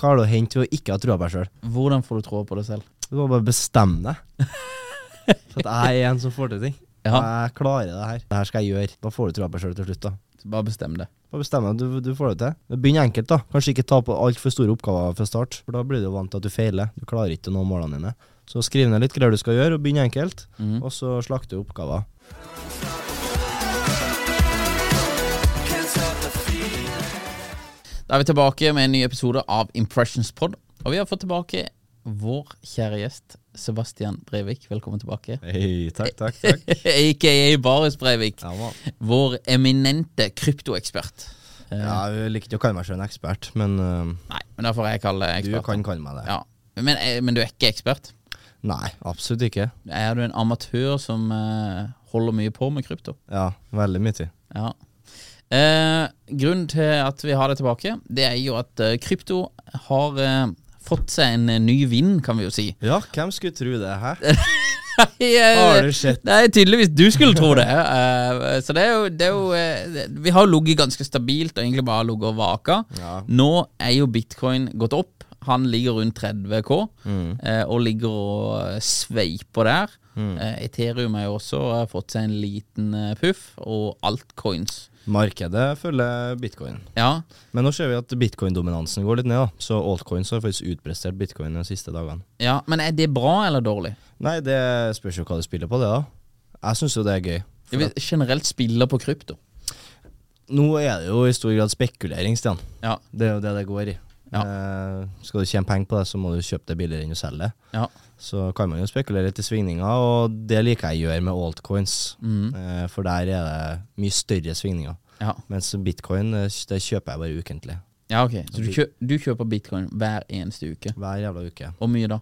Hva har du å hente ved å ikke ha trua på deg sjøl? Hvordan får du troa på det selv? Du må bare bestemme deg. For at jeg er en som får til ting. Jeg klarer det her. Det her skal jeg gjøre. Da får du trua på deg sjøl til slutt, da. Så bare bestem det. Bare bestemme deg, du, du får det til. Begynn enkelt, da. Kanskje ikke ta på altfor store oppgaver fra start, for da blir du jo vant til at du feiler. Du klarer ikke å nå målene dine. Så skriv ned litt greier du skal gjøre, og begynn enkelt. Og så slakter du oppgaver. Da er vi tilbake med en ny episode av Impressions Pod. Og vi har fått tilbake vår kjære gjest Sebastian Breivik. Velkommen tilbake. Hei, takk, takk, takk. Aka Baris Breivik. Eh, Ja, man. Vår eminente kryptoekspert. Eh, ja, jeg liker ikke å kalle meg sjøl en ekspert, men øh, Nei, men da får jeg kalle deg du ekspert. kan kalle meg det. Ja. Men, eh, men du er ikke ekspert? Nei, absolutt ikke. Er du en amatør som eh, holder mye på med krypto? Ja, veldig mye tid. Ja. Eh, grunnen til at vi har det tilbake, det er jo at eh, krypto har eh, fått seg en eh, ny vind, kan vi jo si. Ja, hvem skulle tro det, hæ? Har Har du sett? Eh, Nei, tydeligvis du skulle tro det. Eh, så det er jo, det er jo eh, det- Vi har ligget ganske stabilt og egentlig bare ligget og vaka. Ja. Nå er jo bitcoin gått opp. Han ligger rundt 30 K Mm. eh, og ligger og eh, sveiper der. Eh, Ethereum har jo også eh, fått seg en liten eh, puff, og altcoins. Markedet følger bitcoin. Ja, Men nå ser vi at bitcoin-dominansen går litt ned, da. så altcoins har faktisk utprestert bitcoin de siste dagene. ja, men er det bra eller dårlig? Nei, det spørs jo hva du spiller på, det, da. Jeg syns jo det er gøy. Jeg vil generelt spille på krypto. Nå er det jo i stor grad spekulering, Stian. Ja, Det er jo det det går i. Ja. Eh, skal du tjene penger på det, så må du kjøpe det billigere enn du selger det. ja, Så kan man jo spekulere litt i svingninger, og det liker jeg å gjøre med altcoins. Eh, for der er det mye større svingninger. ja. Mens bitcoin, eh, det kjøper jeg bare ukentlig. ja ok. Så du, kjø du kjøper bitcoin hver eneste uke. Hver jævla uke. Hvor mye da?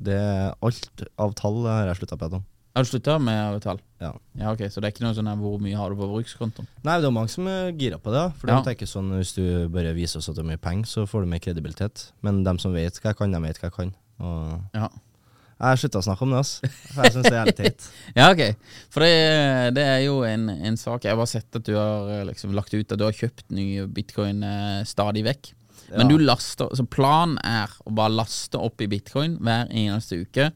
Det er alt av tall har jeg slutta på. Tom. Har du slutta med tall? Ja. Ja, ok, Så det er ikke noe sånn her, hvor mye har du på brukskontoen? Nei, det er mange som er gira på det. da. For Ja. de tenker sånn Hvis du bare viser oss at du har mye penger, så får du mer kredibilitet. Men de som vet hva jeg kan, de vet hva jeg kan. Og Ja. jeg har slutta å snakke om det, altså. For jeg syns det er jævlig teit. ja, ok. For det, det er jo en, en sak Jeg har bare sett at du har eh, liksom, lagt ut at du har kjøpt ny bitcoin eh, stadig vekk. Ja. Men du laster Så planen er å bare laste opp i bitcoin hver eneste uke.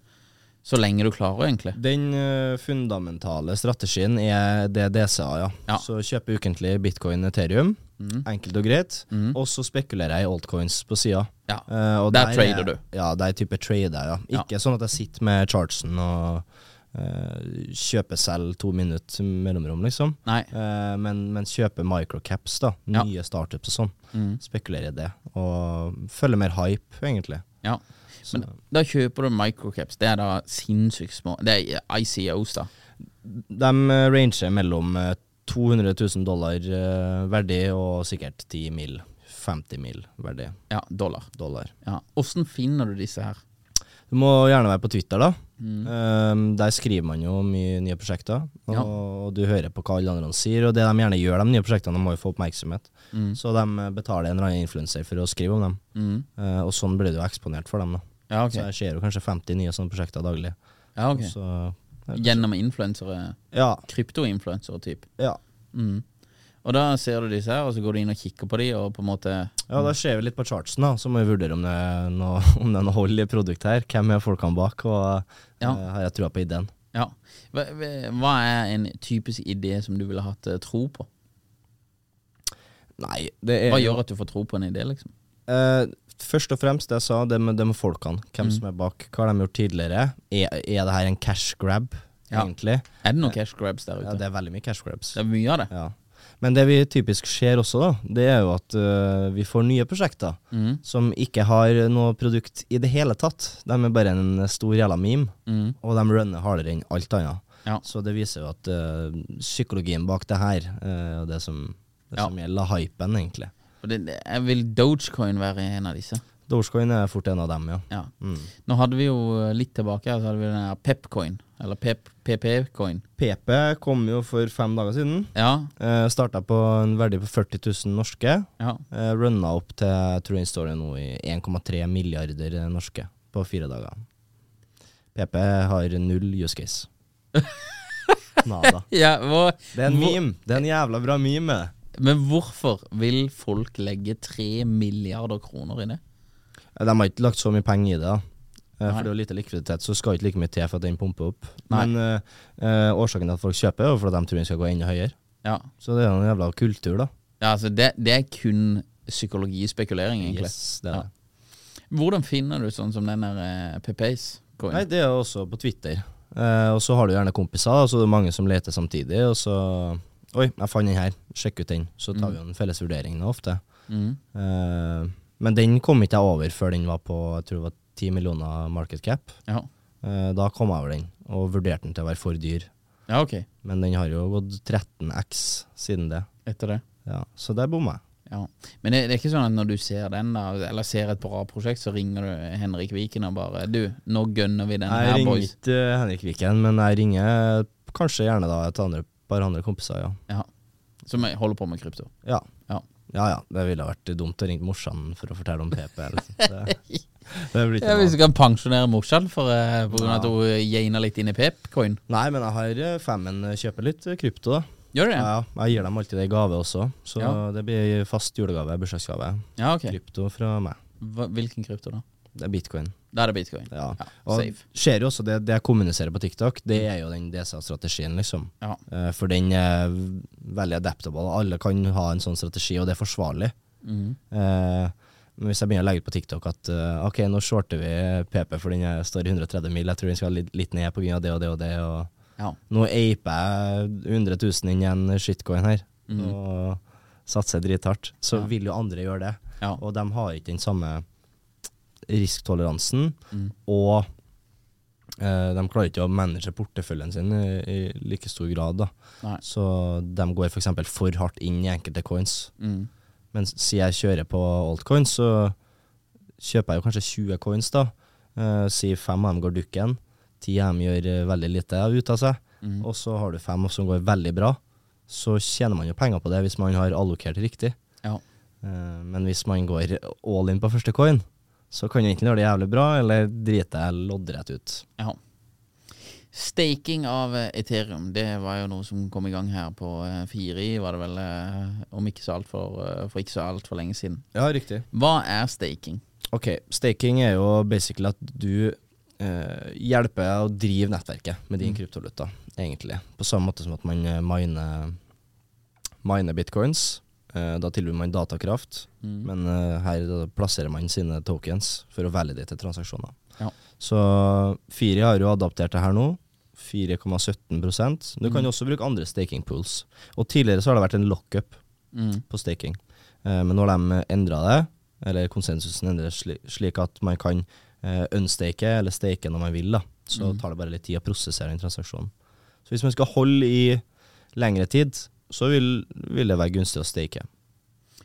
Så lenge du klarer, egentlig. Den eh, fundamentale strategien er det DCA, ja. Ja. Mm. Så kjøper jeg ukentlig bitcoin Ethereum. Enkelt og greit. Og så spekulerer jeg i altcoins på sida. Ja. Eh, og Der er- trader du. Ja, det er type trader, ja. Ja. Ikke sånn at jeg sitter med chartsen og eh, kjøper selv to minutter mellomrom, liksom. Nei. Eh, men, men kjøper microcaps, da. Ja. Mm. Nye startups og sånn. Spekulerer i det. Og følger mer hype, egentlig. Ja. Så- Men da kjøper du microcaps. Det er da sinnssykt små Det er ICOs, da. De eh, ranger mellom eh, 200 000 dollar eh, verdi og sikkert 10 mil. 50 mil verdi. Ja, dollar. Dollar. Ja. Åssen finner du disse her? Du må gjerne være på Twitter, da. Eh, der skriver man jo om mye nye prosjekter. Og, Mm. Ja. og du hører på hva alle andre sier, og det de gjerne gjør, de nye prosjektene, de må jo få oppmerksomhet. Mm. Så de eh, betaler en eller annen influenser for å skrive om dem. Eh, og sånn blir du jo eksponert for dem, da. Ja, ok. Så jeg ser jo kanskje 50 nye sånne prosjekter daglig. Ja, ok. Så Gjennom influensere? ja, Kryptoinfluensere, type. ja. Mm. Og da ser du disse her, og så går du inn og kikker på de, og på en måte Ja, da ser vi litt på chartsen, da. Så må vi vurdere om det er noe, om det er noe hold i produktet her. Hvem er folkene bak, og eh, Ja. har jeg trua på ideen? Ja. Hva, hva- hva er en typisk idé som du ville hatt eh, tro på? Nei, det er Hva gjør at du får tro på en idé, liksom? eh, først og fremst det jeg sa, det med, det med folkene. Mm. Hvem som er bak. Hva har de gjort tidligere? Er, er det her en cash grab, Ja. egentlig? Er det noen cash grabs der ute? Ja, det er veldig mye cash grabs. Det er mye av det. Ja. Men det vi typisk ser også, da, det er jo at øh, vi får nye prosjekter Mm. som ikke har noe produkt i det hele tatt. De er bare en stor jævla meme, og de runner hardere enn alt annet. Mm. Ja. Så det viser jo at øh, psykologien bak det her, øh, og det som, det Ja. som gjelder hypen, egentlig. Og det, det- jeg vil Dogecoin være en av disse. Dogecoin er fort en av dem, ja. Ja. Nå hadde vi jo eh, litt tilbake her, så hadde vi den her Pepcoin, eller Pep- PP-coin. PP kom jo for fem dager siden. Ja, Uh, Starta på en verdi på 40 000 norske. ja. Eh, runna opp til jeg tror den står det nå i 1,3 milliarder norske på fire dager. PP har null use case. Nada. ja hva, Det er en hvor- meme. Det er en jævla bra meme. Men hvorfor vil folk legge tre milliarder kroner i det? Eh, De har ikke lagt så mye penger i det. da. Eh, For det er jo lite likviditet, så skal ikke like mye til for at den pumper opp. Nei. Men eh, eh, årsaken til at folk kjøper, er jo for at de tror den skal gå enda høyere. Ja, Så det er jo en jævla kultur, da. ja altså det, det er kun psykologispekulering, egentlig. Yes, det er Ja. det. Hvordan finner du sånn som den der eh, PPs? coin? Nei, det er jo også på Twitter. Eh, og så har du gjerne kompiser, og så er det mange som leter samtidig. Og så Oi, jeg fant den her. Sjekk ut den. Så tar vi jo en felles vurdering nå ofte. Mm. Eh, men den kom ikke jeg over før den var på jeg tror det var 10 millioner market cap. Ja. Eh, da kom jeg over den, og vurderte den til å være for dyr. ja, ok. Men den har jo gått 13x siden det. Etter det. Ja, så der bomma jeg. Ja. Men det, det er ikke sånn at når du ser den, da, eller ser et bra prosjekt, så ringer du Henrik Viken og bare Du, nå gønner vi Jeg den her, ringer boys. ikke Henrik Viken, men jeg ringer kanskje gjerne da et andre, par andre kompiser, ja. Ja. Som jeg holder på med krypto. Ja. Ja. Ja ja, det ville vært dumt å ringe morsan for å fortelle om PP. Liksom. Det, det blir ikke Ja, noe av. hvis du kan pensjonere morsan for, eh, på grunn av at hun gainer litt inn i pep-coin. Nei, men jeg har eh, femmen eh, kjøper litt eh, krypto, da. Gjør du Ja. det? ja, jeg gir dem alltid det i gave også, så Ja. det blir fast julegave, bursdagsgave. Ja, ok. Krypto fra meg. Hva, hvilken krypto, da? Det er bitcoin. Da er det bitcoin. Ja. Ja, Og safe. ser jo også det, det jeg kommuniserer på TikTok, det er jo den DSA-strategien, liksom. Ja. Eh, For den er veldig adaptable. Alle kan ha en sånn strategi, og det er forsvarlig. Eh, Men hvis jeg begynner å legge ut på TikTok at eh, ok, nå shorter vi PP for den er- står i 130 mil, jeg tror den skal litt, litt ned pga. det og det og det, og Ja. nå aper jeg 100 000 inn i en shitcoin her, Mhm. og satser drithardt, så vil jo andre gjøre det. Ja. Og de har ikke den samme risktoleransen, Mhm. og eh, de klarer ikke å manage porteføljen sin i, i like stor grad. Da. Nei. Så de går f.eks. For, for hardt inn i enkelte coins. Mm. Men siden jeg kjører på altcoins, så kjøper jeg jo kanskje 20 coins, da. Eh, si fem av dem går dukken, ti av dem gjør eh, veldig lite ut av seg, og så har du fem som går veldig bra. Så tjener man jo penger på det hvis man har allokert riktig. ja. Eh, Men hvis man går all in på første coin, så kan du enten gjøre det jævlig bra, eller drite deg loddrett ut. Ja. Staking av eh, Ethereum, det var jo noe som kom i gang her på eh, Firi, var det vel, eh, om ikke så alt for, eh, for ikke så altfor lenge siden. Ja, riktig. Hva er staking? Ok, staking er jo basically at du eh, hjelper å drive nettverket med din kryptovaluta, egentlig. På samme måte som at man eh, miner, miner bitcoins. Eh, da tilbyr man datakraft, men eh, her da plasserer man sine tokens for å validate transaksjoner. Ja. Så Firi har jo adaptert det her nå. 4,17 Du kan jo også bruke andre staking pools. Og tidligere så har det vært en lockup Mm. på staking. Eh, men nå har de endra det, eller konsensusen endrer sli, slik at man kan eh, unstake eller stake når man vil. da. Så tar det bare litt tid å prosessere den transaksjonen. Så hvis man skal holde i lengre tid, så vil, vil det være gunstig å stake.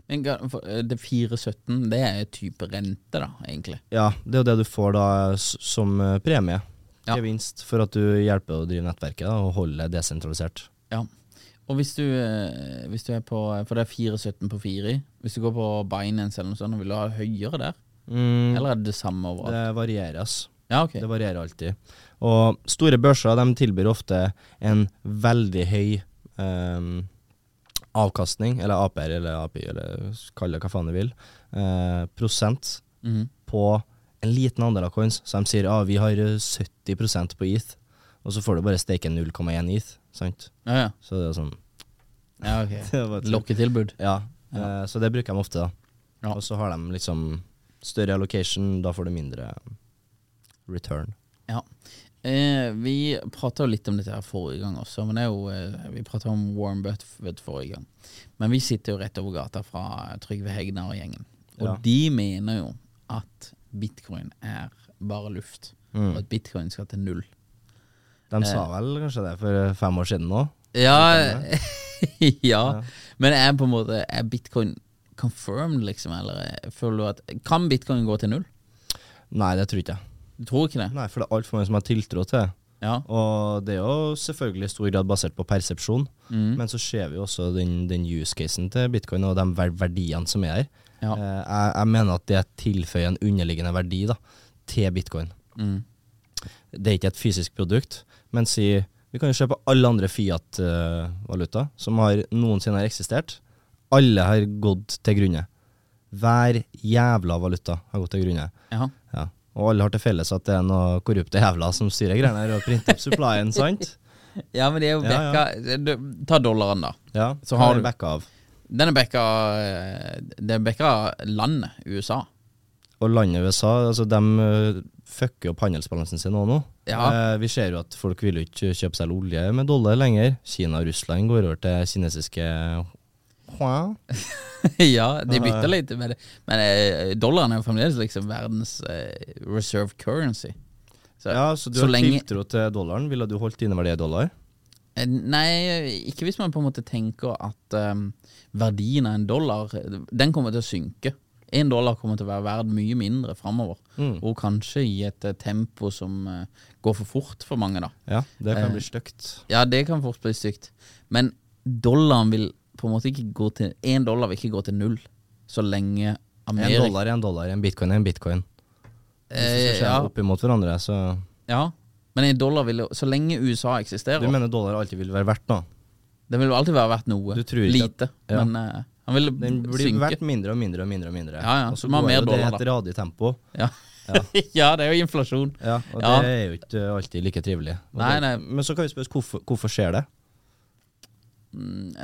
Men ga- for, eh, det 417, det er type rente, da, egentlig. Ja, det er jo det du får da s- som eh, premie. Ja. Gevinst for at du hjelper å drive nettverket da, og holde det desentralisert. Ja. Og hvis du, eh, hvis du er på For det er 417 på Firi. Hvis du går på Binance eller noe sånt, vil du ha høyere der? Eller er det det samme overalt? Mm. Det varieres. Ja, ok. Det varierer alltid. Og store børser de tilbyr ofte en veldig høy ehm, avkastning, eller APR eller API, eller kall det hva faen du vil, eh, prosent Mhm. på en liten andel av coins. Så de sier at ah, vi har eh, 70 på ETH, og så får du bare steke 0,1 ETH. Sant? Ja, ja. Så det er sånn ja Det var ok. et- Lokketilbud. Ja, eh, så det bruker de ofte, da. Ja. Og så har de liksom større allocation, da får du mindre return. Ja. Eh, vi prata jo litt om dette her forrige gang også, men det er jo, eh, vi prata om Warren Buffett forrige gang. Men vi sitter jo rett over gata fra Trygve Hegnar og gjengen. Og Ja. de mener jo at bitcoin er bare luft, Mm. og at bitcoin skal til null. De sa vel kanskje det for fem år siden nå? Ja, ja. Men er på en måte Er bitcoin confirmed, liksom? Eller føler du at Kan bitcoin gå til null? Nei, det tror ikke jeg. Du tror ikke det? Nei, for det er altfor mange som har tiltro til det. Ja. Og det er jo selvfølgelig i stor grad basert på persepsjon, Mm. men så ser vi jo også den, den use casen til bitcoin og de ver- verdiene som er her. Ja. Eh, jeg, jeg mener at det tilføyer en underliggende verdi da, til bitcoin. Mm. Det er ikke et fysisk produkt, men si Vi kan jo se på alle andre Fiat-valuta som har noensinne har eksistert. Alle har gått til grunne. Hver jævla valuta har gått til grunne. ja. Ja. Og alle har til felles at det er noen korrupte jævler som styrer greiene her og printer opp supplyen, sant? Ja, men de er jo Ja, backa du- Ta dollaren, da. Ja, Så har hva er du- backa av. Den er backa eh, Det er backa landet USA. Og landet USA, altså de øh, fucker opp handelsbalansen sin òg nå. Ja. Eh, vi ser jo at folk vil jo ikke kjøpe seg olje med dollar lenger. Kina og Russland går over til kinesiske Huan. ja, de bytter litt med det. Men eh, dollaren er jo fremdeles liksom verdens eh, reserve currency. Så, Ja, så du så har lenge tiltro til dollaren. Ville du holdt dine verdier i dollar? Eh, Nei, ikke hvis man på en måte tenker at eh, verdien av en dollar eh, Den kommer til å synke. En dollar kommer til å være verd mye mindre framover. Mm. Og kanskje i et eh, tempo som eh, går for fort for mange, da. Ja, det kan Eh, bli stygt. Ja, det kan fort bli stygt. Men dollaren vil på en måte ikke gå til Én dollar vil ikke gå til null så lenge En Amerika dollar er en dollar, en bitcoin er en bitcoin. Hvis du skal eh, se ja, opp imot hverandre, så ja, men en dollar vil jo Så lenge USA eksisterer, Du mener dollar alltid vil være verdt noe? den vil jo alltid være verdt noe. Du tror ikke Lite. at- ja. Men eh, han vil Den blir synke. verdt mindre og mindre og mindre. Og mindre Ja, ja, Og så man har går mer jo det dollar, i et radig tempo. Ja. ja, det er jo inflasjon. Ja, og Ja. det er jo ikke alltid like trivelig. Og Nei, det- nei. Men så kan vi spørre oss hvorfor, hvorfor skjer det?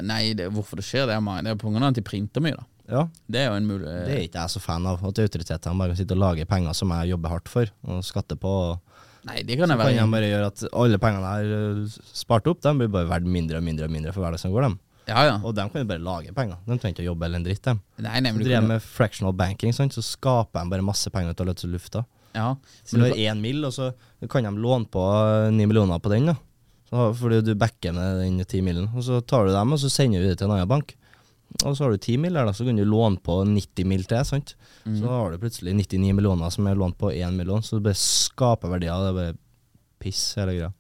Nei, det, hvorfor det skjer, det er, ma- det er på grunn av at de printer mye, da. Ja, Det er jo en mulig Det er ikke jeg så fan av. At autoritetene bare sitter og lager penger som jeg jobber hardt for og skatter på. Og Nei, det kan så kan jeg være jeg bare gjøre at alle pengene jeg har eh, spart opp, de blir bare verdt mindre og mindre og mindre for hver dag som går, dem. Ja, ja. Og de kan jo bare lage penger. De trenger ikke å jobbe eller en dritt, dem. Nei, nei, Så men du driver jeg kan, med fractional banking, sant? så skaper de bare masse penger ut av løse lufta. ja. Så du Men du har én mil, og så kan de låne på eh, ni millioner på den. da. Så, fordi du backer med den ti milen. Og så tar du dem, og så sender du det til en annen bank. Og så har du ti mil der, da, så kan du låne på 90 mil til. sant? Så har du plutselig 99 millioner som er lånt på én million, så du bare skaper verdier. og Det er bare piss, hele greia.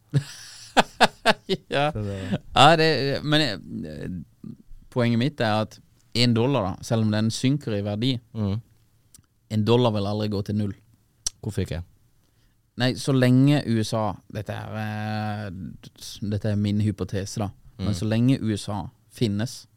kan, ja. Så det- Ja, det, men eh, poenget mitt er at en dollar, da, selv om den synker i verdi Mm. En dollar vil aldri gå til null. Hvorfor ikke? Nei, så lenge USA Dette er, eh, dette er min hypotese, da. Mm. Men så lenge USA finnes,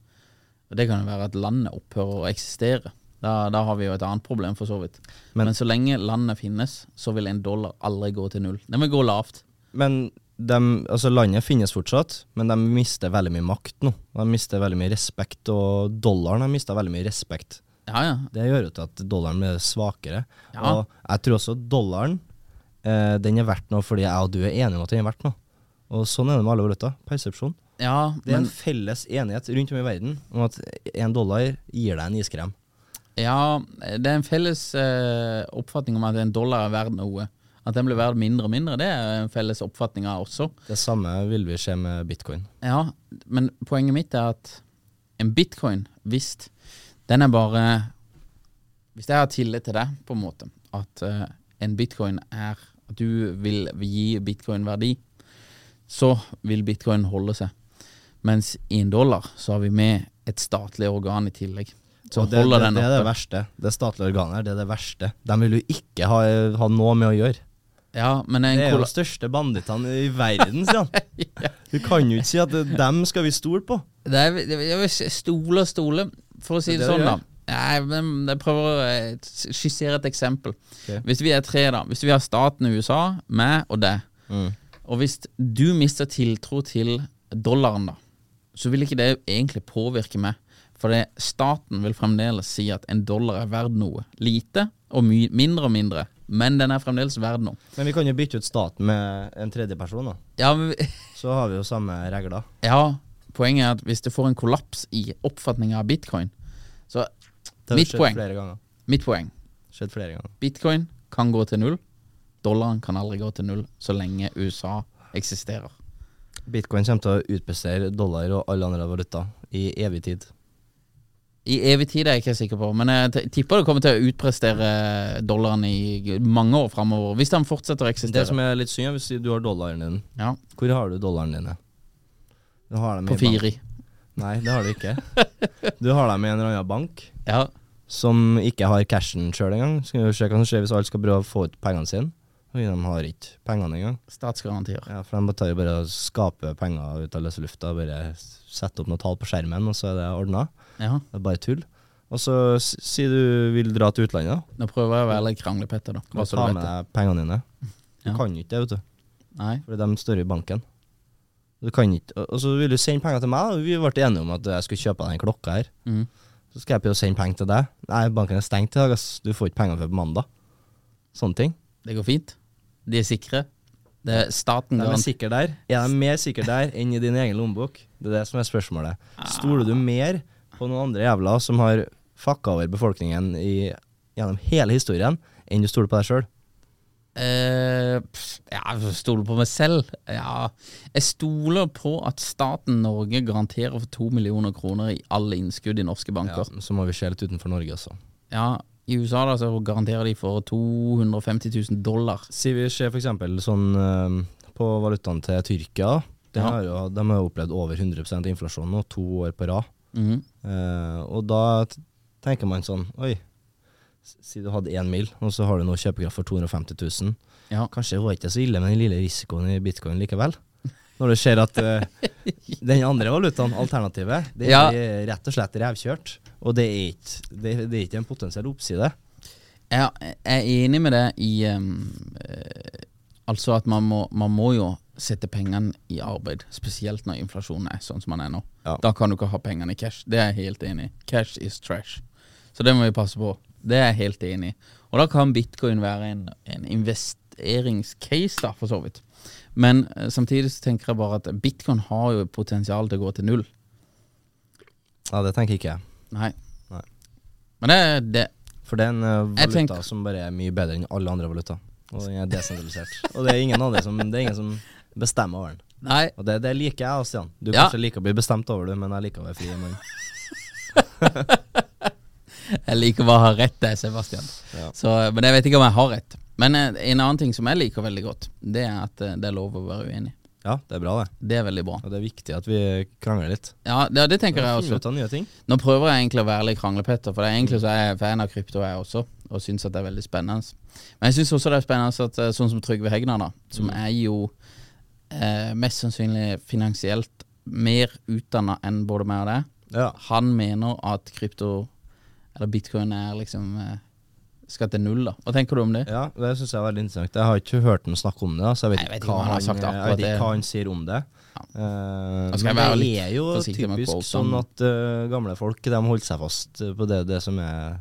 og det kan jo være at landet opphører å eksistere, da, da har vi jo et annet problem, for så vidt. Men- Men, så lenge landet finnes, så vil en dollar aldri gå til null. Den vil gå lavt. Men dem- altså landet finnes fortsatt, men de mister veldig mye makt nå. De mister veldig mye respekt, og dollaren har mista veldig mye respekt. Ja, ja. Det gjør jo til at dollaren blir svakere. Ja. Og jeg tror også dollaren eh, den er verdt noe fordi jeg og du er enige om at den er verdt noe. Og sånn er det med alle valuta. Persepsjon. ja Det er men, en felles enighet rundt om i verden om at én dollar gir deg en iskrem. Ja, det er en felles eh, oppfatning om at en dollar er verd noe. At den blir verd mindre og mindre, det er en felles oppfatning av også. Det samme vil vi se med bitcoin. Ja, men poenget mitt er at en bitcoin, hvis den er bare Hvis jeg har tillit til deg, på en måte, at eh, en bitcoin er At du vil gi bitcoin verdi, så vil bitcoin holde seg. Mens i en dollar så har vi med et statlig organ i tillegg. Så Og det, holder det, den det er det oppe. verste. Det statlige organet her, det er det verste. De vil jo ikke ha, ha noe med å gjøre. Ja, men en Det er jo kolla- de største bandittene i verden, sier han. Du kan jo ikke si at det- dem skal vi stole på. Det er, det er- stole og stole, for å si Det er det det, sånn, du da. gjør. Nei, men Jeg prøver å eh, skissere et eksempel. Ok. Hvis vi er tre, da. Hvis vi har staten i USA, meg og deg. Mm. Og hvis du mister tiltro til dollaren, da, så vil ikke det egentlig påvirke meg. For det, staten vil fremdeles si at en dollar er verd noe. Lite og my mindre og mindre, men den er fremdeles verd noe. Men vi kan jo bytte ut staten med en tredjeperson, da. Ja, men, vi- Så har vi jo samme regler. ja, poenget er at hvis det får en kollaps i oppfatninga av bitcoin, så Det har Mitt skjedd poeng. Flere ganger. Mitt poeng Skjedd flere ganger. Bitcoin kan gå til null. Dollaren kan aldri gå til null så lenge USA eksisterer. Bitcoin kommer til å utbestere dollar og alle andre valutaer i evig tid. I evig tid er jeg ikke sikker på, men jeg t- tipper det kommer til å utprestere dollaren i g- mange år framover. Hvis den fortsetter å Det som eksistere. er litt synd, er hvis du har dollaren din. Ja, Hvor har du dollaren din? Du har dem i på bank- fire. Nei, det har du ikke. Du har dem i en eller annen bank Ja. som ikke har cashen sjøl engang. Skal vi se hva som skjer hvis alle skal prøve å få ut pengene sine. Og de har ikke pengene engang. Statsgarantier. Ja, for de bare tar jo bare og skaper penger ut av løse lufta. Bare setter opp noen tall på skjermen, og så er det ordna. Ja. Det er bare tull. Og så s- sier du vil dra til utlandet, da. Nå prøver jeg å være litt kranglepetter, da. Bare så ta du med vet det. deg pengene dine. Du Ja. kan jo ikke det, vet du. Nei. For de står i banken. Du kan ikke, og- og så vil du sende penger til meg, og vi ble enige om at jeg skulle kjøpe deg en klokke her. Mm. Så skal jeg prøve å sende penger til deg. Nei, banken er stengt i dag, ass. Du får ikke penger før på mandag. Sånne ting. Det går fint. De er sikre. Det er staten De er garanterer. sikre der. Er de mer sikre der enn i din egen lommebok? Det er det som er spørsmålet. Stoler du mer på noen andre jævler som har fucka over befolkningen i, gjennom hele historien, enn du stoler på deg sjøl? Eh, pff, ja, jeg stoler på meg selv. Ja. Jeg stoler på at staten Norge garanterer for to millioner kroner i alle innskudd i norske Ja, banker. så må vi se litt utenfor Norge altså. også. Ja, I USA da så garanterer de for 250 000 dollar. Si vi ser for eksempel sånn eh, på valutaen til Tyrkia. De Ja. har jo de har jo opplevd over 100 inflasjon nå, to år på rad. Mhm. Eh, og da t- tenker man sånn Oi, s- si du hadde én mil, og så har du nå kjøpekraft for 250 000. Ja. Kanskje det var ikke så ille med den lille risikoen i bitcoin likevel? Når du ser at eh, den andre valutaen, alternativet, det Ja. er rett og slett revkjørt. Og det er ikke, det, det er ikke en potensiell oppside. Jeg jeg er enig med det i ehm, eh, Altså at man må, man må jo sette pengene i arbeid, spesielt når inflasjonen er sånn som den er nå. Ja. Da kan du ikke ha pengene i cash. Det er jeg helt enig i. Cash is trash. Så det må vi passe på. Det er jeg helt enig i. Og da kan bitcoin være en, en investeringscase, da, for så vidt. Men eh, samtidig så tenker jeg bare at bitcoin har jo potensial til å gå til null. Ja, det tenker ikke jeg. Nei. Nei. Men det, det For det er en eh, Jeg valuta tenker- som bare er mye bedre enn alle andre valutaer. Og den er desentralisert. og det er ingen andre som, det er ingen som bestemmer over den. Nei, Og det, det liker jeg, Stian. Du Ja. kanskje liker å bli bestemt over det, men jeg liker å være fri mann. Jeg liker bare å ha rett, det, Sebastian. Så, men jeg vet ikke om jeg har rett. Men eh, en annen ting som jeg liker veldig godt, det er at eh, det er lov å være uenig. Ja, det er bra, det. Det er veldig bra. Og det er viktig at vi krangler litt. Ja, det, det tenker jeg Finne også. ut av nye ting. Nå prøver jeg egentlig å være litt kranglepetter, for det er egentlig så er jeg fan av krypto, jeg også, og syns at det er veldig spennende. Men jeg syns også det er spennende at eh, sånn som Trygve Hegnar, da, som er jo eh, mest sannsynlig finansielt mer utdanna enn både meg og deg, Ja. han mener at krypto, eller bitcoin, er liksom eh, skal til null, da. Hva tenker du om det? ja, det syns jeg er veldig interessant. Jeg har ikke hørt ham snakke om det, da, så jeg vet, Nei, jeg vet ikke hva han, har sagt akkurat jeg vet det. ikke hva han sier om det. Ja. Eh, Da skal jeg men være det litt er jo forsiktig med typisk quotene. sånn at eh, gamle folk de holder seg fast på det, det som er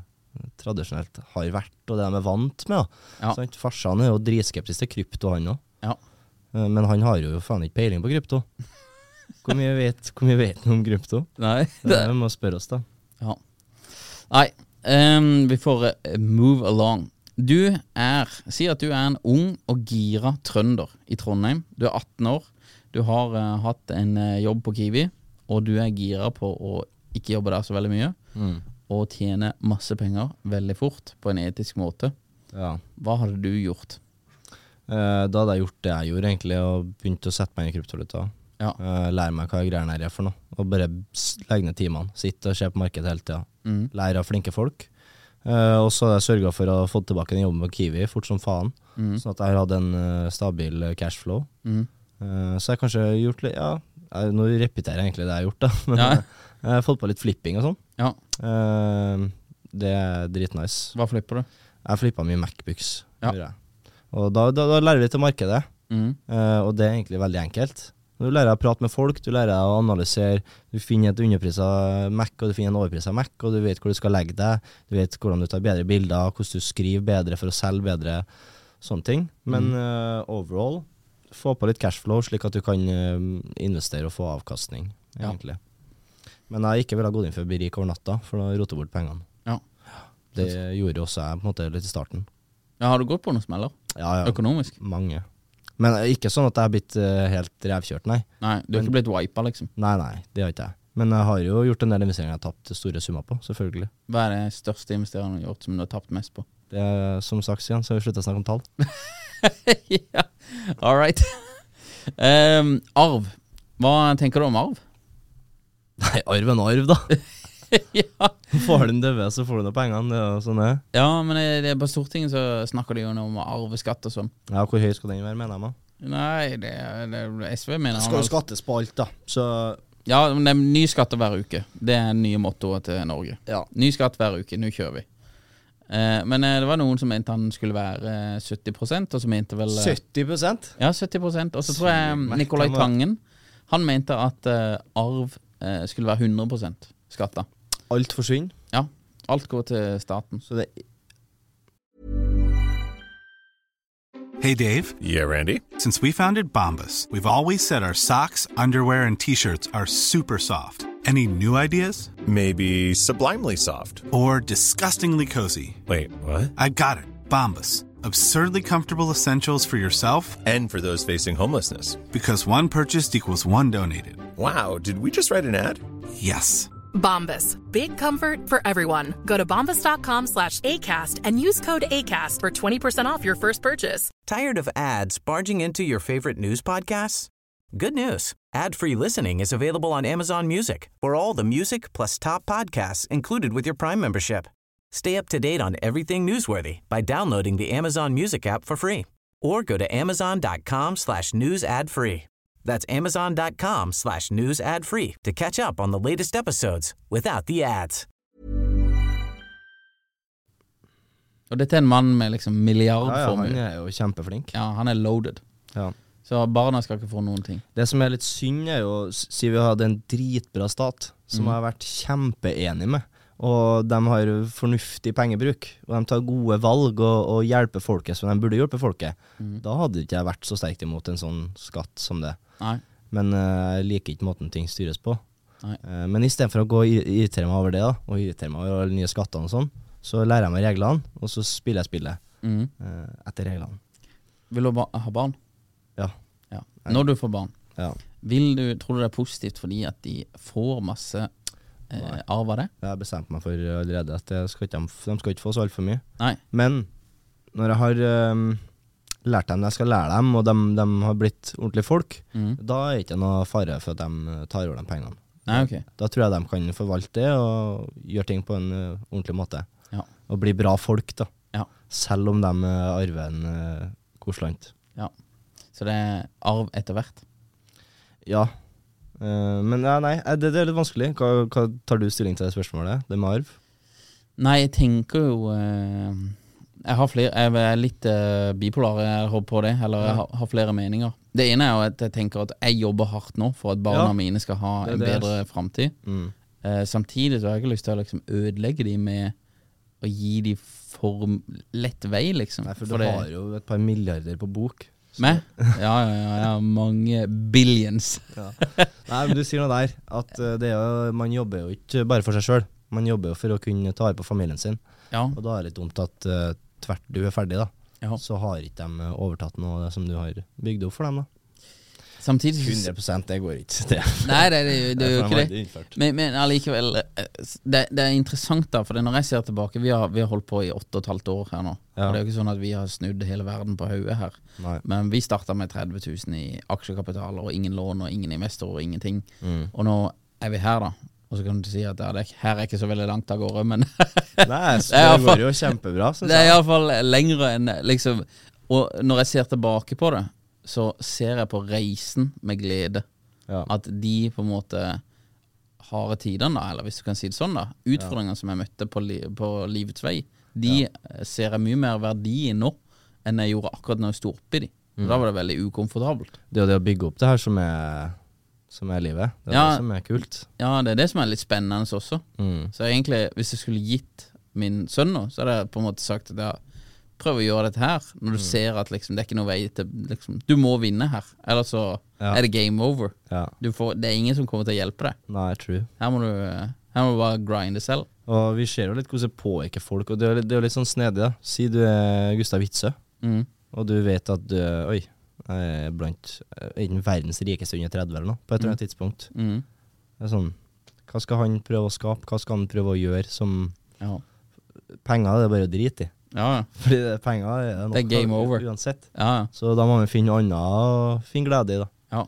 tradisjonelt har vært, og det de er vant med. Ja. Da. Sant? Farsan er jo dritskeptisk til krypto, han òg. Ja. Men han har jo faen ikke peiling på krypto. Hvor mye vet hvor mye vet han om krypto? Nei, Det må vi spørre oss, da. ja. Nei ehm, vi får eh, move along. Du er Si at du er en ung og gira trønder i Trondheim. Du er 18 år. Du har eh, hatt en eh, jobb på Kiwi, og du er gira på å ikke jobbe der så veldig mye. Og tjene masse penger veldig fort på en etisk måte. Ja. Hva hadde du gjort? Eh, da hadde jeg gjort det jeg gjorde, egentlig, og begynt å sette meg inn i kryptovaluta. Ja. Eh, lære meg hva greiene her er for noe, og bare s- legge ned timene. Sitte og se på markedet hele tida. Lære av flinke folk. Eh, og så hadde jeg sørga for å få tilbake den jobben på Kiwi fort som faen, sånn at jeg har hatt en eh, stabil eh, cashflow. Eh, så jeg har kanskje gjort litt Ja, jeg, nå repeterer jeg egentlig det jeg har gjort, da. Men Ja. jeg, jeg har fått på litt flipping og sånn. Ja, Eh, det er dritnice. hva flipper du? Jeg flippa mye Macbooks. Ja. gjorde jeg. Og da, da, da lærer vi til markedet, Mm. eh, og det er egentlig veldig enkelt. Du lærer deg å prate med folk, du lærer deg å analysere. Du finner et underprisa Mac, og du finner en overprisa Mac, og du vet hvor du skal legge deg. Du vet hvordan du tar bedre bilder, hvordan du skriver bedre for å selge bedre. Sånne ting. Men Mm. eh, overall, få på litt cashflow, slik at du kan eh, investere og få avkastning, Ja. egentlig. Men jeg ikke ville ha gått inn for å bli rik over natta, for da roter jeg bort pengene. Ja. Det gjorde også jeg på en måte litt i starten. Ja, har du gått på noen smeller? Ja, ja. Økonomisk? Mange. Men eh, ikke sånn at jeg har blitt eh, helt revkjørt, nei. Nei, du har ikke blitt wipa, liksom. Nei, nei, det har ikke jeg. Men jeg har jo gjort en del investeringer jeg har tapt store summer på, selvfølgelig. Hva er det største investeringen du har gjort som du har tapt mest på? Det er, som sagt, Stian, så har vi slutta å snakke om tall. ja, all right. Ehm, arv. Hva tenker du om arv? Nei, arv er en arv, da. ja. Får du den døve, så får du nå pengene. Det er jo sånn det er. ja, men eh, det- det er på Stortinget så snakker de jo nå om arveskatt og sånn. Ja, hvor høy skal den være, mener jeg, da? Nei, det, det SV mener Skal han- jo skattes på alt, da. Så Ja, men det er ny skatt hver uke. Det er det nye mottoet til Norge. ja. Ny skatt hver uke, nå kjører vi. Eh, men eh, det var noen som mente han skulle være eh, 70 og så mente vel eh, 70 Ja, 70 Og så tror jeg Sykt merke, Nicolai men- Tangen Han mente at eh, arv eh, skulle være 100 skatta. Alt forsvinner. Ja. Alt går til staten. Så det Hey, Dave. Yeah, Randy. Since we founded Bombus, we've always said our socks, underwear, and t shirts are super soft. Any new ideas? Maybe sublimely soft. Or disgustingly cozy? Wait, what? I got it. Bombus. Absurdly comfortable essentials for yourself And for those facing homelessness. because one purchased equals one donated. Wow, did we just write an ad? Yes. Bombas. Big comfort for everyone. Go to bombas.com slash ACAST and use code ACAST for 20% off your first purchase. Tired of ads barging into your favorite news podcasts? Good news. Ad-free listening is available on Amazon Music. For all the music plus top podcasts included with your Prime membership. Stay up to date on everything newsworthy by downloading the Amazon Music app for free or go to amazon.com slash news ad free. That's amazon.com slash news ad free to catch up on the latest episodes without the ads. Og dette er en mann med liksom ja, ja, han milliardformue. Ja, er jo kjempeflink. han er loaded. Ja. Så barna skal ikke få noen ting. Det som er litt synd, er jo Si vi hadde en dritbra stat som jeg har vært kjempeenig med, og de har fornuftig pengebruk, og de tar gode valg og, og hjelper folket som de burde hjulpet folket. Da hadde ikke jeg vært så sterkt imot en sånn skatt som det. Nei. Men eh, jeg liker ikke måten ting styres på. Nei. Eh, men istedenfor å gå og ir- irritere meg over det, da, og irritere meg over alle de nye skattene og sånn, så lærer jeg meg reglene, og så spiller jeg spillet Mhm. eh, etter reglene. Vil du ba ha barn? Ja. Ja. Når du får barn, ja. vil du, tror du det er positivt fordi at de får masse eh, arv av det? Jeg har bestemt meg for eh, allerede at det skal ikke, de de skal ikke få så altfor mye. Nei. Men når jeg har øhm, lært dem det jeg skal lære dem, og de, har blitt ordentlige folk, da er det ikke noe fare for at de eh, tar over de pengene. Mm. Nei, ok. Da tror jeg de kan forvalte det og gjøre ting på en øh, ordentlig måte. Ja. Og bli bra folk, da. Ja. Selv om de øh, arver en øh, koslant. ja. Så det er arv etter hvert. Ja. Eh, men ja, nei, eh, det, det er litt vanskelig. Hva, hva tar du stilling til det spørsmålet? Det med arv? Nei, jeg tenker jo eh, Jeg har flere Jeg er litt eh, bipolar jeg håper på det, eller jeg har, har flere meninger. Det ene er jo at jeg tenker at jeg jobber hardt nå for at barna Ja. mine skal ha Det er en det jeg- bedre framtid. Mm. Eh, samtidig så har jeg ikke lyst til å liksom ødelegge de med å gi de for m- lett vei, liksom. Nei, for du For det- har jo et par milliarder på bok. Meg? Ja, ja, ja, ja. Mange billions. Nei, men du sier noe der. At eh, det er, jo- man jobber jo ikke bare for seg sjøl. Man jobber jo for å kunne ta vare på familien sin. Ja. Og da er det litt dumt at eh, tvert du er ferdig, da. ja. Så har ikke de eh, overtatt noe av det som du har bygd opp for dem, da. Samtidig så- 100 det går ikke. Det, Nei, det, det, det, det er jo ikke det. det. Men, men allikevel, eh, det, det er interessant da, for det- når jeg ser tilbake Vi har, vi har holdt på i åtte og et halvt år her nå. Ja. Og det er jo ikke sånn at vi har snudd hele verden på hodet her. Nei. Men vi starta med 30 000 i aksjekapital og ingen lån og ingen investorer og ingenting. Mm. Og nå er vi her, da. Og så kan du si at ja, det er, her er ikke så veldig langt av gårde, men Nei, så Det er det i hvert går jo kjempebra, syns det er jeg. iallfall lengre enn liksom Og når jeg ser tilbake på det, så ser jeg på reisen med glede. Ja. At de på en måte harde tidene, da, eller hvis du kan si det sånn, da utfordringene som jeg møtte på, li på livets vei, de eh, ser jeg mye mer verdi i nå enn jeg gjorde akkurat når jeg sto oppi de. Da var det veldig ukomfortabelt. Det er jo det å bygge opp det her som er, som er livet. Det er Ja. det som er kult. Ja, det er det som er litt spennende også. Mm. Så egentlig, hvis jeg skulle gitt min sønn nå, så hadde jeg på en måte sagt at ja, prøv å gjøre dette her, når du Mm. ser at liksom, det er ikke noe vei til liksom, Du må vinne her, ellers så Ja. er det game over. Ja. Du får, det er ingen som kommer til å hjelpe deg. Nei, true. Her må du, eh, her må du bare grinde selv. Og vi ser jo litt hvordan det påvirker folk, og det er jo litt, det er jo litt sånn snedig, da. Si du er Gustav Witzøe, Mm. og du vet at du Oi, jeg er blant eh, enten verdens rikeste under 30 eller noe, på et eller annet tidspunkt. Mm. Det er sånn Hva skal han prøve å skape, hva skal han prøve å gjøre som Ja. Penger det er bare å drite i. Ja, ja. Fordi det, penger det er nok Det er game av- over. uansett. ja, ja. Så da må vi finne noe annet å finne glede i, da. ja.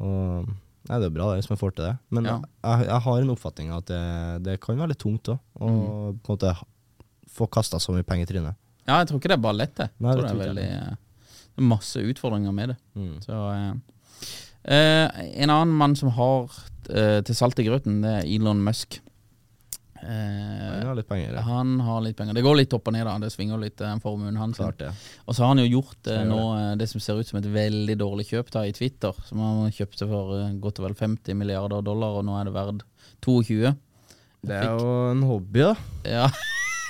Og, nei, det er bra det, hvis man får til det. Men Ja. jeg, jeg har en oppfatning av at det, det kan være litt tungt òg. Å på en måte ha- få kasta så mye penger i trynet. Ja, jeg tror ikke det er bare lett, det. Nei, Jeg det tror det er tror veldig jeg eh, det er masse utfordringer med det. Mm. Så eh, eh, En annen mann som har eh, til salt i grøten, det er Elon Musk. Eh, Han har litt penger. Ja. han har litt penger. Det går litt opp og ned, da. Det svinger litt, eh, den formuen hans. Klart det. Og så har han jo gjort eh, Skal jeg nå eh, det som ser ut som et veldig dårlig kjøp da, i Twitter, som han kjøpte for eh, godt og vel 50 milliarder dollar, og nå er det verdt 22. Det er jo en hobby, da. Ja,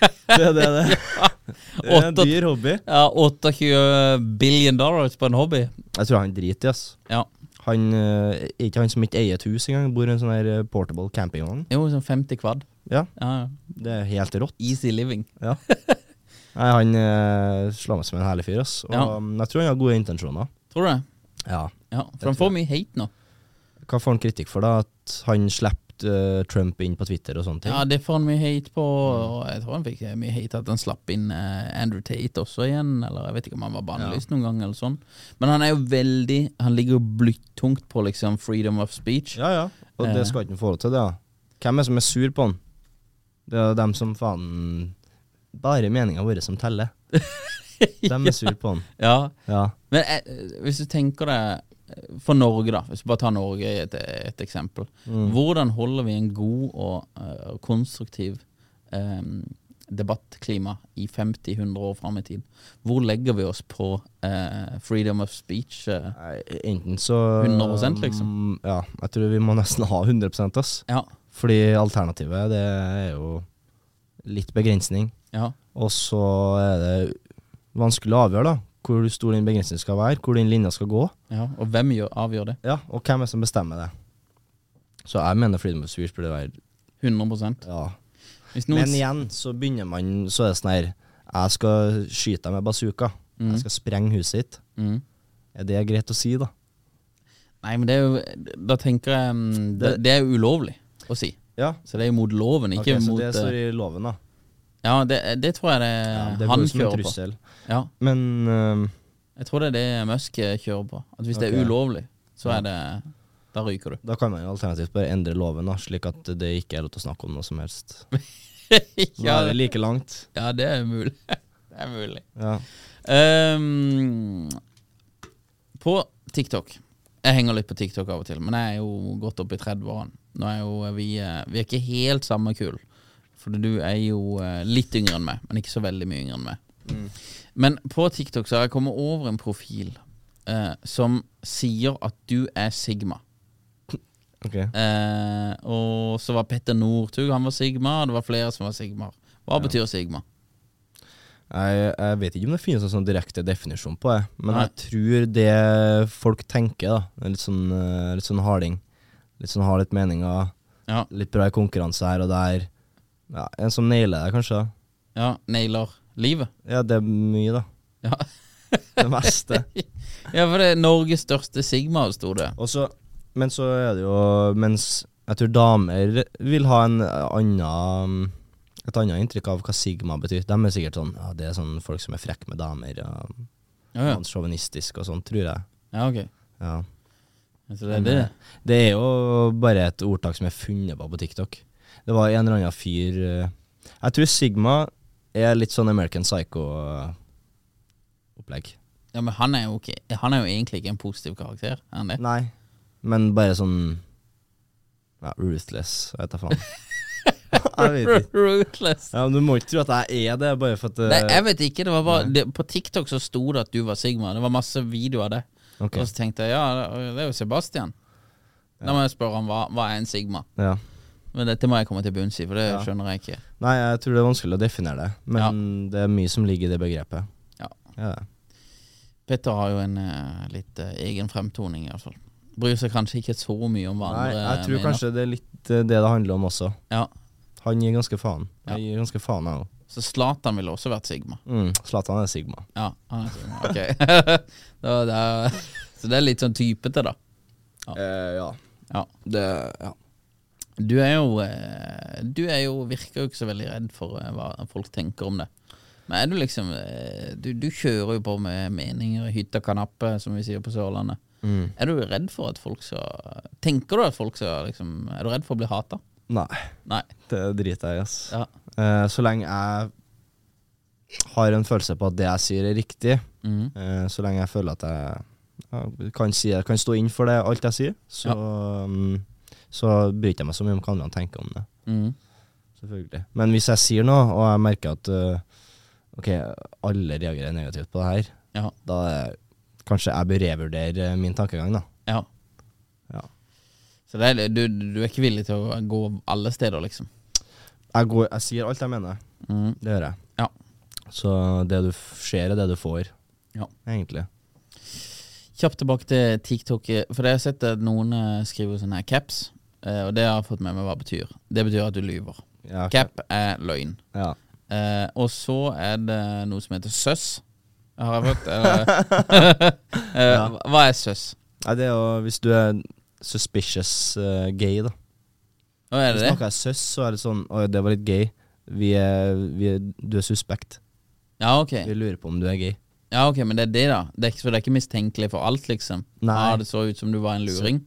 Det er det. det. det er en Åtte- dyr hobby. ja 28 billion dollars på en hobby. Jeg tror han driter i ass. Ja. Han, eh, ikke han som ikke eier et hus engang, bor i en sånn her eh, portable campingvogn. Jo, sånn 50 kvad. Ja, Ja, ja. det er helt rått. easy living. Ja. Nei, han eh, slår meg som en herlig fyr, ass. Og Ja. mm, jeg tror han har gode intensjoner. Tror du det? Ja. Ja, for han får mye hate nå. Hva får han kritikk for, da? At han slapp eh, Trump inn på Twitter og sånne ting? Ja, det får han mye hate på. Og jeg tror han fikk eh, mye hate at han slapp inn eh, Andrew Tate også igjen, eller jeg vet ikke om han var bannlyst noen gang, eller sånn. Men han er jo veldig Han ligger jo blytungt på liksom freedom of speech. ja. ja. Og Eh. det skal ikke han få lov til, det. da. Hvem er det som er sur på han? Det er dem som faen Bare meninga vår som teller. Dem er sur på han. Ja. Ja. Men eh, hvis du tenker deg eh, for Norge, da, hvis vi bare tar Norge i et, et eksempel. Mm. Hvordan holder vi en god og eh, konstruktiv eh, debattklima i 50-100 år fram i tid? Hvor legger vi oss på eh, freedom of speech? eh? Nei, Enten så 100% liksom. Mm, Ja. Jeg tror vi må nesten ha 100 ass. ja, Fordi alternativet, det er jo litt begrensning. ja, Og så er det vanskelig å avgjøre, da. Hvor stor den begrensningen skal være, hvor den linja skal gå. ja. Og hvem gjør, avgjør det? Ja, og hvem er det som bestemmer det? Så jeg mener Freedom of Speech burde være 100 ja. Hvis noen Men s- igjen så begynner man så er det sånn her Jeg skal skyte deg med bazooka. Jeg skal sprenge huset ditt. mm. Er det greit å si, da? Nei, men det er jo Da tenker jeg mm, det, det er jo ulovlig å si. Ja. Så det er jo mot loven, Ok, ikke så mot det står eh, i loven, da. Ja, det, det tror jeg det, Ja, det han blir som en kjører på. trussel. Ja, Men ehm, øhm, jeg tror det er det Musk eh, kjører på. At hvis det Ok. er ulovlig, så er det Da ryker du. da kan man jo alternativt bare endre loven, da, slik at det ikke er lov til å snakke om noe som helst. Nå ja, er vi like langt. ja, det er mulig. det er mulig. Ja. Ehm, på TikTok Jeg henger litt på TikTok av og til, men jeg er jo godt opp i 30-årene. Nå er jo vi eh, Vi er ikke helt samme kull. For du er jo eh, litt yngre enn meg, men ikke så veldig mye yngre enn meg. Men på TikTok så har jeg kommet over en profil eh, som sier at du er Sigma. Ok. Eh, og så var Petter Northug han var Sigma, og det var flere som var Sigma. Hva betyr Sigma? Jeg, jeg vet ikke om det finnes en sånn direkte definisjon på det, men Nei. jeg tror det folk tenker, da, det er litt sånn, eh, litt sånn harding, litt sånn har litt meninger, Ja, litt bra i konkurranse her og der. Ja, en som nailer det, kanskje. da. ja nailer livet. Ja, det er mye, da. Ja Det meste. Ja, for det er Norges største Sigma, sto det. Og så, men så er det jo Mens jeg tror damer vil ha en annen et annet inntrykk av hva sigma betyr. De er sikkert sånn ja, Det er sånn folk som er frekke med damer. Ja, Ja, ja. Sjåvinistisk og sånn, tror jeg. ja ok. Ja. Så det er det. Det er jo bare et ordtak som er funnet på på TikTok. Det var en eller annen fyr eh, Jeg tror Sigma er litt sånn American Psycho-opplegg. Ja, men han er jo, ikke, han er jo egentlig ikke en positiv karakter, er han det? Nei, men bare sånn ja, Ruthless, jeg vet da faen. Jeg vet ikke. Ruthless. Ja, men Du må ikke tro at jeg er det, bare for at eh, Nei, jeg vet ikke. Det var bare, det, på TikTok så sto det at du var Sigma. Det var masse videoer av det. Ok. Og så tenkte jeg ja, det er jo Sebastian. Da må jeg spørre ham hva, hva er en Sigma. ja. Men dette må jeg komme til bunns i, for det Ja. skjønner jeg ikke. Nei, jeg tror det er vanskelig å definere det, men det er mye som ligger i det begrepet. Ja. Ja, det. Petter har jo en eh, litt eh, egen fremtoning, iallfall. Bryr seg kanskje ikke så mye om hva Nei, eh, andre jeg tror mener. kanskje det er litt eh, det det handler om også. Ja. Han gir ganske faen. Ja. Jeg gir ganske faen, jeg òg. Så Zlatan ville også vært Sigma. Mm, Zlatan er Sigma. Ja, han er Sigma. Ok. da, da, så det er litt sånn typete, da. Ja. Eh, ja. Ja. Det Ja. Du er jo eh, Du er jo, virker jo ikke så veldig redd for eh, hva folk tenker om det. Men er du liksom eh, Du, du kjører jo på med meninger i hytta kanappe, som vi sier på Sørlandet. Er du redd for at folk skal Tenker du at folk skal liksom Er du redd for å bli hata? Nei, Nei. det driter jeg i, ass. Ja. Eh, så lenge jeg har en følelse på at det jeg sier, er riktig, Mhm. eh, så lenge jeg føler at jeg ja, kan, si, kan stå inn for det, alt jeg sier, så, mm, så bryr jeg ikke meg så mye om hva andre tenker om det. Mhm. Selvfølgelig. Men hvis jeg sier noe, og jeg merker at øh, Ok, alle reagerer negativt på det her, Ja. da er det- kanskje jeg bør revurdere øh, min tankegang, da. ja. Ja. Så det er, du, du er ikke villig til å gå alle steder, liksom? Jeg, går, jeg sier alt jeg mener. Mhm. Det gjør jeg. Ja. Så det du f- ser, er det du får, Ja. egentlig. Kjapt tilbake til TikTok. eh, For jeg har sett at noen eh, skriver sånne her caps, eh, og det har jeg fått med meg hva det betyr. Det betyr at du lyver. Ja, ok. Cap er løgn. Ja. Eh, og så er det noe som heter søss. Har jeg hørt? Eller, Eh, Hva er søss? Nei, det er jo hvis du er suspicious øh, gay, da. Hva er det? Snakker jeg søss, så er det sånn Å, det var litt gay. Vi er, vi er, du er suspekt. Ja, ok. Vi lurer på om du er gay. Ja, ok, Men det er det, da. Det er ikke, så det er ikke mistenkelig for alt, liksom? Nei. Ja, det så ut som du var en luring?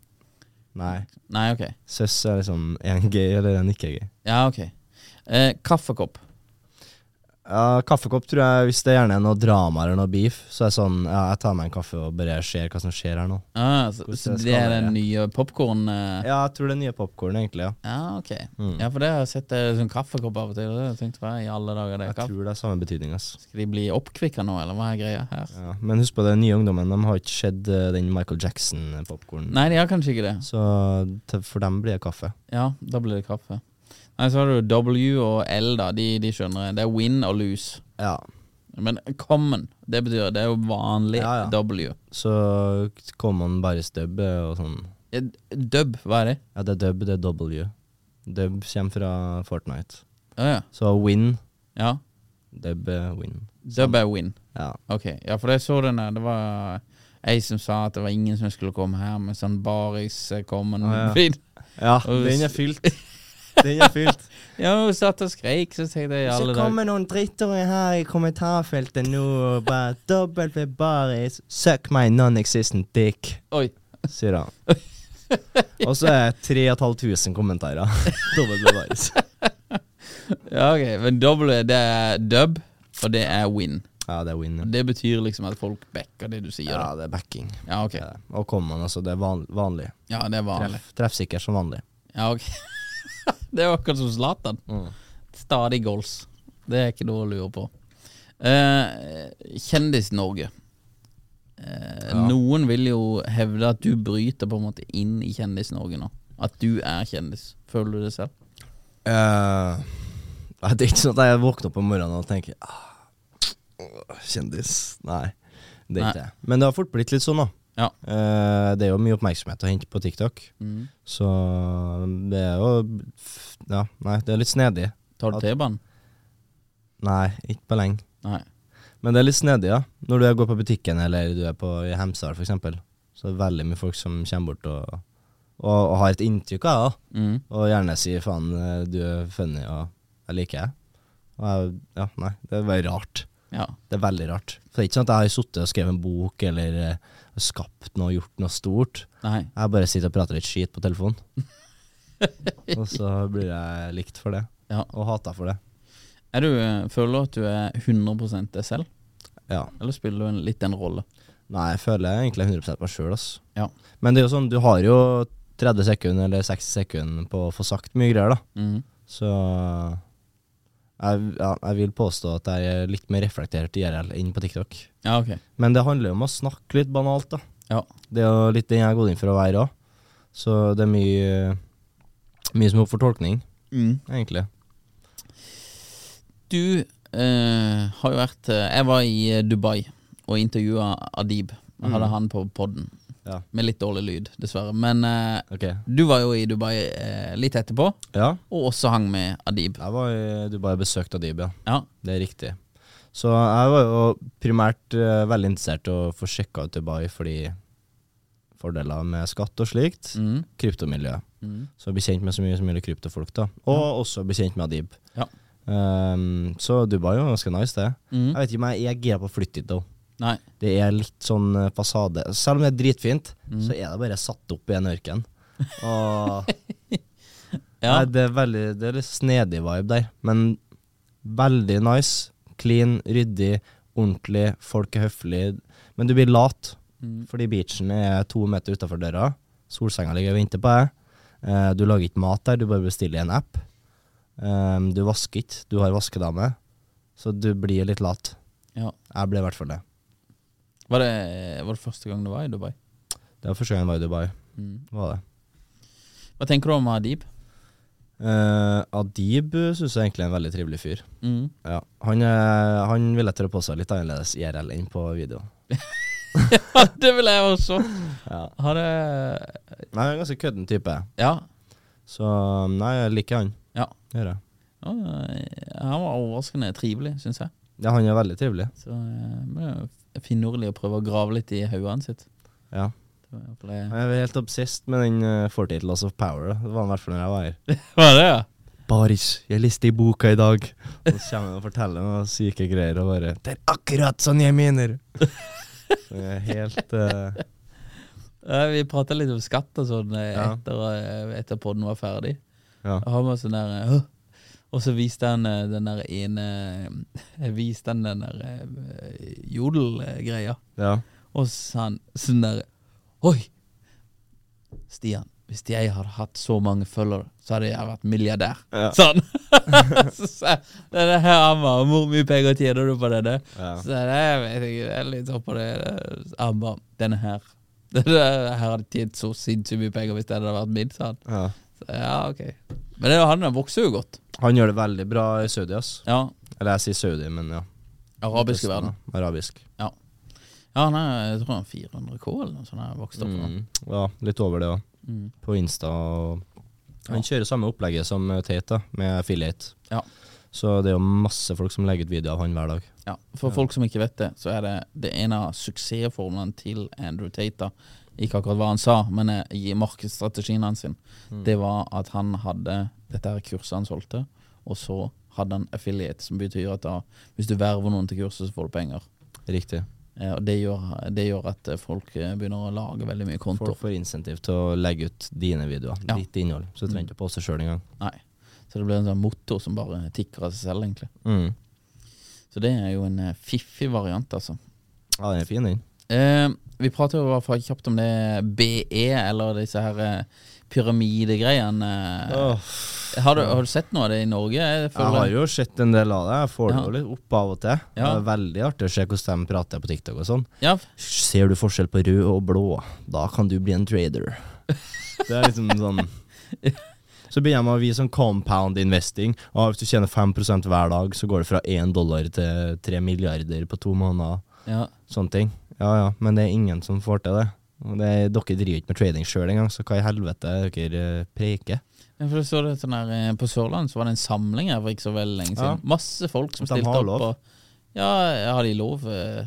Nei. Nei, ok. Søss er liksom er en gay eller en ikke gay. Ja, ok. Eh, kaffekopp. Ja, kaffekopp tror jeg, hvis det gjerne er noe drama eller noe beef, så er det sånn ja, jeg tar meg en kaffe og bare ser hva som skjer her nå. Ah, så, Hvordan så skal det er det den være? nye popkorn... Eh. Ja, jeg tror det er nye popkorn, egentlig. ja. Ja, ok. Mm. Ja, for det har jeg sett eh, sånn kaffekopp av og til. Og jeg tenkte, hva i alle dager er det Jeg kaffe? tror det er samme betydning. ass. Skal de bli oppkvikka nå, eller hva er greia her? Ja. Men husk på, den nye ungdommen de har ikke sett eh, den Michael Jackson-popkornen. Nei, de har kanskje ikke det. Så til- for dem blir det kaffe. Ja, da blir det kaffe. Nei, så har du W og L, da. De, de skjønner jeg. Det er win og lose. Ja. Men common, det betyr det er jo vanlig Ja, ja. W. Så kommer man bare i stubb eh, og sånn. Ja, Dub, hva er det? Ja, det er dub, det er W. Dub kommer fra Fortnite. Ja, ja. Så win, ja. dub, eh, win. Dub er win. Ja. Ok, ja, for jeg så den der. Det var ei som sa at det var ingen som skulle komme her med sånn baris eh, common Ah, ja. feed. ja, den er fylt. Den er fylt. Ja, hun satt og skreik, så tenkte jeg i Så alle dager kommer noen drittunger her i kommentarfeltet nå og bare W baris, suck my non-existent dick, Oi. sier han. Og så er det 3500 kommentarer. W baris. Ja, ok, men W, det er dub, og det er win. Ja, det er win. Og ja. Det betyr liksom at folk backer det du sier. Ja, da. det er backing. Ja, ok. Ja, Og kommer man, altså. Det er van vanlig. Ja, det er vanlig. Treff, treffsikker som vanlig. Ja, ok. det er jo akkurat som Zlatan. Mm. Stadig goals. Det er ikke noe å lure på. Eh, Kjendis-Norge. Eh, Noen vil jo hevde at du bryter på en måte inn i Kjendis-Norge nå. At du er kjendis. Føler du det selv? Eh, ja, det er ikke sånn at jeg våkner opp om morgenen og tenker ah, Kjendis. Nei, det er Nei. ikke det. Men det har fort blitt litt sånn, da. Ja. Eh, det er jo mye oppmerksomhet å hente på TikTok. Så det er jo f- Ja, nei, det er litt snedig. Tar du T-banen? Nei, ikke på lenge. Nei. Men det er litt snedig, ja. Når du går på butikken eller du er på i Hemsedal, for eksempel så er det veldig mye folk som kommer bort og, og, og har et inntrykk av det. da. Mm. Og gjerne sier 'faen, eh, du er funny', og 'jeg liker deg'. Og jeg, ja, nei, det er veldig rart. Ja. Det er veldig rart. For det er ikke sånn at jeg har sittet og skrevet en bok eller eh, skapt noe og gjort noe stort. Nei. Jeg bare sitter og prater litt skit på telefonen. og så blir jeg likt for det, Ja. og hata for det. Er du, eh, føler du at du er 100 deg selv, Ja. eller spiller du en, litt en rolle? Nei, jeg føler egentlig 100 meg sjøl, ass. Ja. Men det er jo sånn, du har jo 30 sekunder eller 60 sekunder på å få sagt mye greier, da. Mhm. Så jeg, ja, jeg vil påstå at jeg er litt mer reflektert i IRL enn på TikTok. Ja, ok. Men det handler jo om å snakke litt banalt, da. Ja. Det er jo litt den jeg har gått inn for å være òg. Så det er mye, mye som er opp for tolkning, Mm. egentlig. Du eh, har jo vært eh, Jeg var i eh, Dubai og intervjua Adib. Jeg hadde han på poden. Ja. Med litt dårlig lyd, dessverre. Men eh, Ok. du var jo i Dubai eh, litt etterpå, Ja. og også hang med Adib. Jeg var i Dubai og besøkte Adib, ja. Ja. Det er riktig. Så jeg var jo primært eh, veldig interessert i å få sjekka ut Dubai fordi fordeler med skatt og slikt. Mm. Kryptomiljøet. Mm. Så bli kjent med så mye som mulig kryptofolk, da. Og også bli kjent med Adib. Ja. Ehm, så Dubai er jo ganske nice, det. Mm. Jeg vet ikke om jeg jeg er gira på å flytte dit, da. Nei. Det er litt sånn eh, fasade. Selv om det er dritfint, Mm. så er det bare satt opp i en ørken. Og Ja. Nei, det er veldig Det er litt snedig vibe der, men veldig nice. Clean, ryddig, ordentlig, folk er høflige. Men du blir lat, fordi beachen er to meter utafor døra. Solsenga ligger og venter på deg. Eh, Du lager ikke mat der, du bare bestiller i en app. Eh, Du vasker ikke, du har vaskedame. Så du blir litt lat. ja. Jeg ble i hvert fall det. Var, det, eh, var det første gang du var i Dubai? Det var første gang jeg var i Dubai. Var det. Hva tenker du om Adib? Eh, Adib syns jeg egentlig er en veldig trivelig fyr. Mm. Ja. Han, eh, han ville trå på seg litt annerledes IRL enn på video. det vil jeg også. Ja. Har det Nei, han er en ganske kødden type, Ja. så mm, nei, jeg liker han. Ja. Det gjør jeg. Ja, Han var overraskende trivelig, syns jeg. Ja, han er veldig trivelig. Så eh, det er jo finurlig å prøve å grave litt i hodet sitt. Ja. Det var i hvert fall eh, det- Jeg var helt obsessed med den uh, 48 Loss of Power. da. Det var han i hvert fall når jeg var her. Hva er det, ja? Baris, jeg leste i boka i dag. Og så kommer han og forteller noen syke greier og bare Det er akkurat sånn jeg mener! Så jeg er helt eh, Eh, Vi prata litt om skatt og sånn eh, Ja. etter, eh, etter podden var ferdig. Ja. Og han var sånn der eh, «Åh!» Og så viste han eh, den der ene eh, Viste han den der eh, jodelgreia. Ja. Og så sa han sånn der Oi! Stian, hvis jeg hadde hatt så mange følgere, så hadde jeg vært milliardær. Ja. Sånn. så sa jeg Denne her Amma, hvor mye penger tjener du på denne? Ja. Så sa jeg, «Nei, jeg vet ikke, det er litt sånn på det Amma, denne her. Denne her hadde tjent så sinnssykt mye penger hvis det hadde vært min, sa han. ja. Så, ja, ok. Men det, han vokser jo godt. Han gjør det veldig bra i Saudi, ass. Ja. Eller jeg sier Saudi, men ja. Arabiske verden. Arabisk. Ja. ja, han er, jeg tror han er 400K eller noe sånt. Han vokste opp fra. Mm. Ja, litt over det òg. Mm. På Insta. Og han kjører samme opplegget som eh, Tate, da, med affiliate. Ja. Så det er jo masse folk som legger ut video av han hver dag. Ja, For folk som ikke vet det, så er det det ene av suksessformlene til Andrew Tata. Ikke akkurat hva han sa, men eh, i markedsstrategien hans, sin, det var at han hadde dette her kurset han solgte, og så hadde han affiliate, som betyr at da, hvis du verver noen til kurset, så får du penger. Riktig. Eh, og det gjør, det gjør at eh, folk eh, begynner å lage veldig mye kontoer. Folk får insentiv til å legge ut dine videoer, Ja. Mm. ditt innhold. Så du trenger ikke å poste sjøl engang. Nei. Så det blir en sånn motor som bare tikker av seg selv, egentlig. Mm. Så det er jo en eh, fiffig variant, altså. Ja, den er fin, den. Eh, vi prater jo i hvert fall kjapt om det BE, eller disse her eh, pyramidegreiene. Har, du, har du sett noe av det i Norge? Jeg Jeg føler- har jo sett en del av det. Jeg får det Ja. jo litt opp av og til. Ja. Det er veldig artig å se hvordan de prater på TikTok og sånn. Ja, Ser du forskjell på rød og blå, da kan du bli en trader. Det er liksom sånn Så begynner jeg med å vise sånn compound investing. Og hvis du tjener 5 hver dag, så går det fra 1 dollar til 3 milliarder på to måneder. ja. Sånne ting. Ja ja, men det er ingen som får til det. Og det er, dere driver ikke med trading sjøl engang, så hva i helvete er det dere eh, preiker? Ja, For jeg så det sånn her, eh, På Sørlandet så var det en samling her for ikke så veldig lenge Ja. siden. Masse folk som De stilte har opp. lov. Og, ja, ja, har de lov? eh?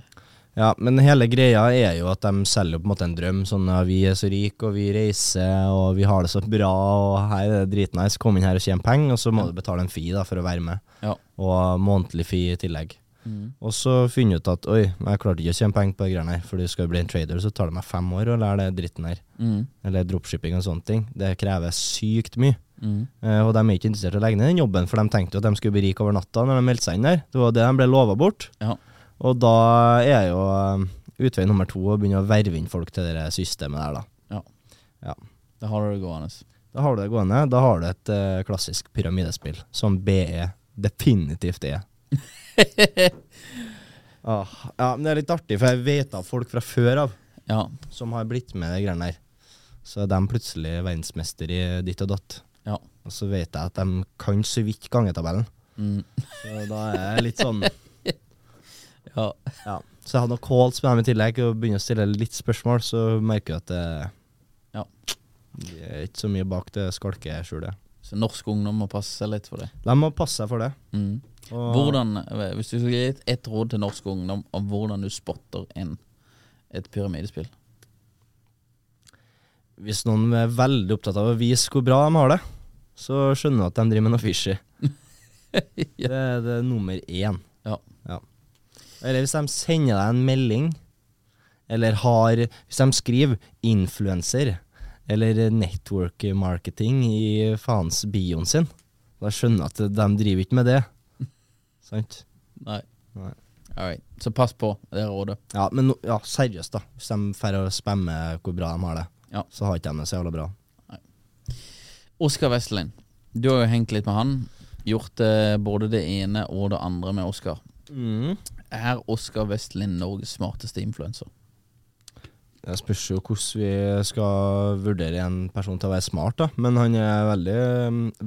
Ja, men hele greia er jo at de selger jo på en måte en drøm. Sånn at vi er så rike, og vi reiser, og vi har det så bra, og her er det dritnice. Kom inn her og tjen penger, og så må du betale en fee da, for å være med. Ja. Mm. Og månedlig fee i tillegg. Og så finner du ut at oi, jeg klarte ikke å tjene penger på de greiene her, for du skal jo bli en trader, så tar det meg fem år å lære det dritten her. Mm. Eller dropshipping og sånne ting. Det krever sykt mye. Mm. Eh, og de er ikke interessert i å legge ned den jobben, for de tenkte jo at de skulle bli rike over natta når de meldte seg inn der. Det var det de ble lova bort. Ja. Og da er jo eh, utvei nummer to å begynne å verve inn folk til det systemet der, da. ja. Ja. Det har du det gående. Da har du det gående. Da har du et eh, klassisk pyramidespill, som BE definitivt er. ah, ja, men det er litt artig, for jeg vet av folk fra før av Ja. som har blitt med de greiene der. Så er de plutselig verdensmester i ditt og datt. ja. Og så vet jeg at de kan så vidt gangetabellen. Så da er jeg litt sånn ja. Ja. Så jeg hadde noe calls med dem i tillegg, og begynner å stille litt spørsmål, så merker jeg at det Ja. det er ikke så mye bak det skalkeskjulet. Så norsk ungdom må passe seg litt for det. De må passe seg for det. Mm. Og Hvordan, eh, hvis du skulle gi et, et råd til norsk ungdom om hvordan du spotter en, et pyramidespill hvis noen er veldig opptatt av å vise hvor bra de har det, så skjønner jeg at de driver med noe fishy. Det er det er nummer én. Ja. Ja. Eller hvis de sender deg en melding, eller har Hvis de skriver 'influenser' eller 'network marketing' i faens bioen sin, da skjønner jeg at de driver ikke med det. Sant? Nei. Nei. Alright. Så pass på det rådet. Ja, men no- ja, seriøst, da. Hvis de får å spamme hvor bra de har det, Ja. så har ikke de det så jævla bra. Oskar Westlin. Du har jo hengt litt med han. Gjort eh, både det ene og det andre med Oskar. Er Oskar Westlin Norges smarteste influenser? Det spørs jo hvordan vi skal vurdere en person til å være smart, da. Men han er veldig,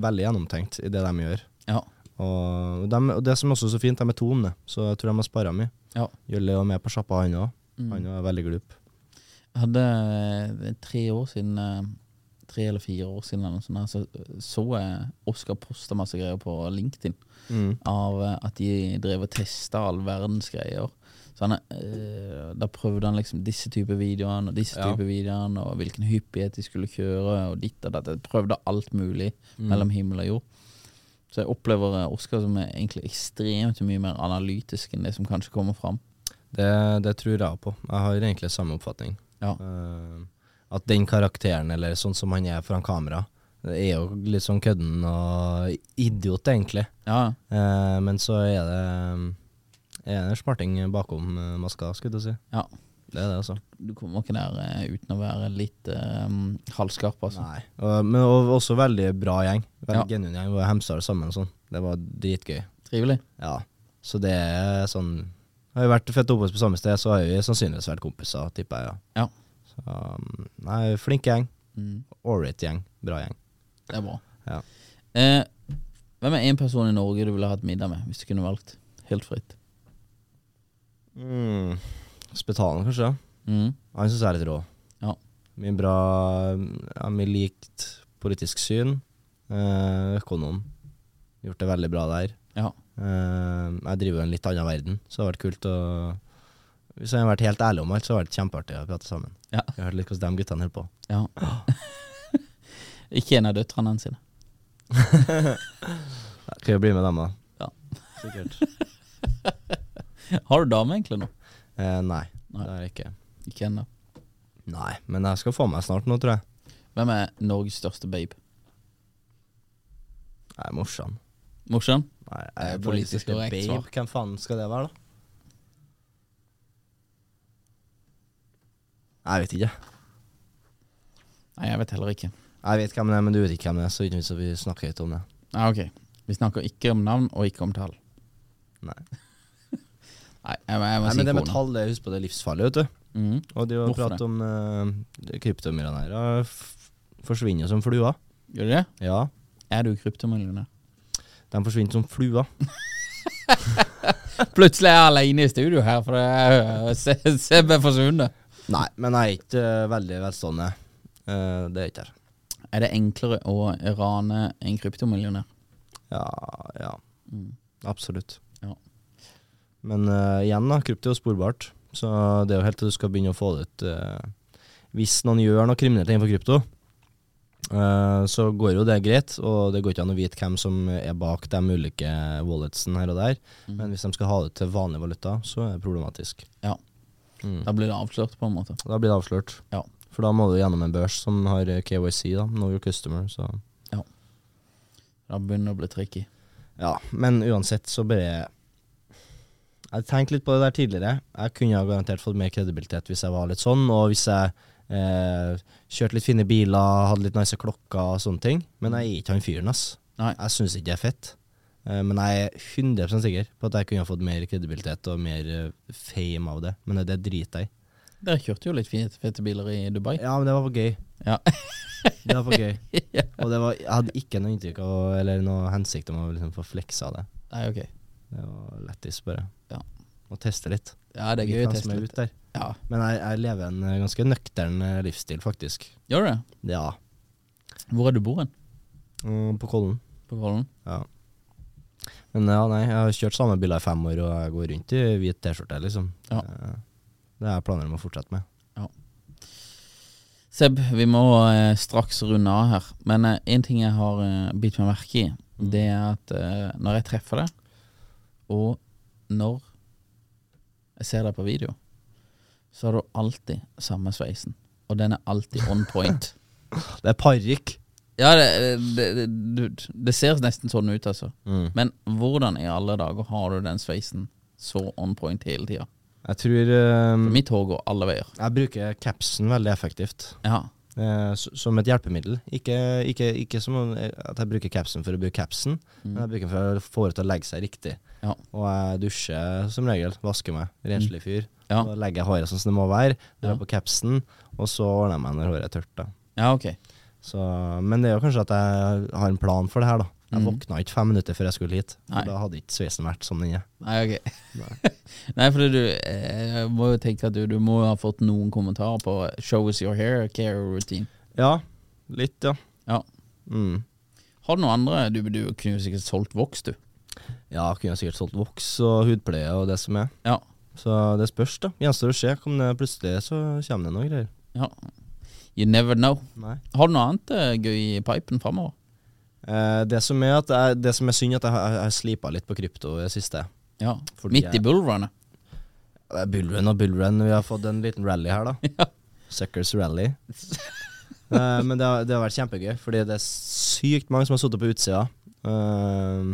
veldig gjennomtenkt i det de gjør. Ja. Og, dem- og det som også er så fint, de er to om det, så jeg tror de har spara mye. ja. Jølle er med på sjappa, han òg. Han er veldig glup. Jeg hadde det er tre år siden eh, Tre eller fire år siden eller noe sånt, her, så så jeg Oskar posta masse greier på LinkedIn. Av eh, at de drev og testa all verdens greier. Så han, eh, da prøvde han liksom disse typer videoene og disse Ja. typer videoene, og hvilken hyppighet de skulle kjøre, og ditt og datt. Jeg Prøvde alt mulig mellom himmel og jord. Så jeg opplever eh, Oskar som er egentlig ekstremt mye mer analytisk enn det som kanskje kommer fram. Det, det tror jeg på. Jeg har egentlig samme oppfatning. Ja. Eh, at den karakteren, eller sånn som han er foran kamera, det er jo litt sånn kødden og idiot, egentlig. Ja, Eh, men så er det er det en smarting bakom eh, maska, skulle jeg til å si. ja. Det er det, altså. du kommer ikke der eh, uten å være litt eh, halvskarp, altså. Nei. Og, men og, også veldig bra gjeng. Veldig Ja. genuin gjeng. Vi var i Hemsedal sammen og sånn. Det var dritgøy. Trivelig. Ja. Så det er sånn Har vi vært født og oppvokst på samme sted, så har vi sannsynligvis vært kompiser, tipper jeg. ja. Ja, Så, um, nei, flink gjeng. Ålreit gjeng. Bra gjeng. Mm, det er bra. Ja. Eh, hvem er én person i Norge du ville hatt middag med, hvis du kunne valgt? Helt fritt. Mm. Spetalen, kanskje. Mm. Han syns jeg er litt rå. Ja. Mye bra ja, Mye likt politisk syn. Eh, økonom. Gjort det veldig bra der. ja. Eh, jeg driver jo en litt annen verden, så det har vært kult å Hvis jeg hadde vært helt ærlig om alt, så hadde det vært kjempeartig å prate sammen. Ja. Jeg har hørt litt hvordan de guttene holder på. ja. ikke en av døtrene hans sine. Jeg kan jo bli med dem, da. Ja. Sikkert. Har du dame egentlig nå? Eh, nei, Nei. det er jeg ikke. Ikke ennå. Nei, men jeg skal få meg snart nå, tror jeg. Hvem er Norges største babe? Jeg er morsom. Morsom? Nei, Det er politisk babe. korrekt svar. Hvem faen skal det være, da? Jeg vet ikke. Nei, jeg vet heller ikke. Jeg vet hvem det er, men du vet ikke hvem det er, så ikke vits at vi snakker høyt om det. Nei, Ah, ok. Vi snakker ikke om navn og ikke om tall. Nei, Nei, jeg, jeg må Nei si men det med kona. tall, det husk på, det er livsfarlig, vet du. Mm. Og det å Hvorfor det? prate om uh, kryptomillionærer f- forsvinner som fluer. Gjør du det? Ja, Er du kryptomillionær? de forsvinner som fluer. Plutselig er jeg alene i studio her, for jeg ser se meg forsvunnet. Nei, men jeg er ikke eh, veldig velstående. Eh, det er jeg ikke her. Er det enklere å rane en kryptomillionær? Ja, ja. Mm. Absolutt. Ja. Men eh, igjen, da, krypto er jo sporbart. Så det er jo helt til du skal begynne å få det ut. eh, hvis noen gjør noe kriminelt innenfor krypto, eh, så går jo det greit, og det går ikke an å vite hvem som er bak de ulike walletsene her og der. Mhm. Men hvis de skal ha det til vanlig valuta, så er det problematisk. Ja. Da blir det avslørt, på en måte. Da blir det avslørt. Ja. For da må du gjennom en børs som har eh, KYC, da, know your customer. Så. Da begynner det å bli tricky. Ja, men uansett så bare Jeg tenkte litt på det der tidligere. Jeg kunne ha garantert fått mer kredibilitet hvis jeg var litt sånn, og hvis jeg Eh, kjørt litt fine biler, hadde litt nice klokker og sånne ting. Men jeg er ikke han fyren, ass. Nei. Jeg syns ikke det er fett. Eh, men jeg er 100 sikker på at jeg kunne ha fått mer kredibilitet og mer eh, fame av det. Men det driter jeg i. Dere kjørte jo litt fete, fete biler i Dubai. Ja, men det var for gøy. Ja. Det var for gøy. Og det var, jeg hadde ikke noe inntrykk av, eller noe hensikt om å liksom få fleksa det. Nei, ok. Det var lættis, bare. Ja. Å teste litt. Ja, det er gøy Vite å hvem som teste er litt. ute der. Ja. Men jeg, jeg lever en eh, ganske nøktern eh, livsstil, faktisk. Gjør du det? Ja. Hvor er du bor hen? Mm, På Kollen. På Kollen? Ja. Men ja, nei, jeg har kjørt samme biler i fem år, og jeg går rundt i hvit T-skjorte, liksom. Ja. Eh, Det har jeg planer om å fortsette med. Seb, vi må eh, straks runde av her. Men eh, en ting jeg har eh, bitt meg merke i, det er at eh, når jeg treffer deg, og når jeg ser deg på video, så har du alltid samme sveisen. Og den er alltid on point. Det er parykk! Ja, det, det, det, du- det ser nesten sånn ut, altså. Men hvordan i alle dager har du den sveisen så on point hele tida? Jeg tror eh, Mitt hår går alle veier. Jeg bruker capsen veldig effektivt. Ja. Eh, s- som et hjelpemiddel. Ikke, ikke, ikke som om- eh, at jeg bruker capsen for å bruke capsen, men jeg bruker den for å få det til å legge seg riktig. Mm. Ja. Mm. Og jeg dusjer som regel, vasker meg, renslig fyr. Ja. Da legger jeg håret sånn som det må være, drar Ja. på capsen, og så ordner jeg meg når håret er tørt. da. ja, ok. Så, men det er jo kanskje at jeg har en plan for det her, da. Jeg våkna ikke fem minutter før jeg skulle hit, Mm. Nei. for da hadde ikke sveisen vært som den er. Nei, ok. Nei, for du eh, Jeg må jo tenke at du, du må ha fått noen kommentarer på 'show us your hair care routine'. Ja, litt, ja. Ja. Mm. Har du noe andre? Du, du kunne jo sikkert solgt voks, du. Ja, kunne jeg sikkert solgt voks og hudpleie og det som er. Ja. Så det spørs, da. Gjenstår å se. Kom det plutselig, så kommer det noe greier. ja. You never know. Nei. Har du noe annet eh, gøy i pipen framover? Eh, det, som er at jeg, det som er synd, at jeg har, jeg har slipa litt på krypto i det siste. Ja. Fordi Midt i jeg- bullrunnet? Det er Bullrun og bullrun. Vi har fått en liten rally her, da. Ja. Suckers rally. Eh, men det har, det har vært kjempegøy, fordi det er sykt mange som har sittet på utsida. Eh,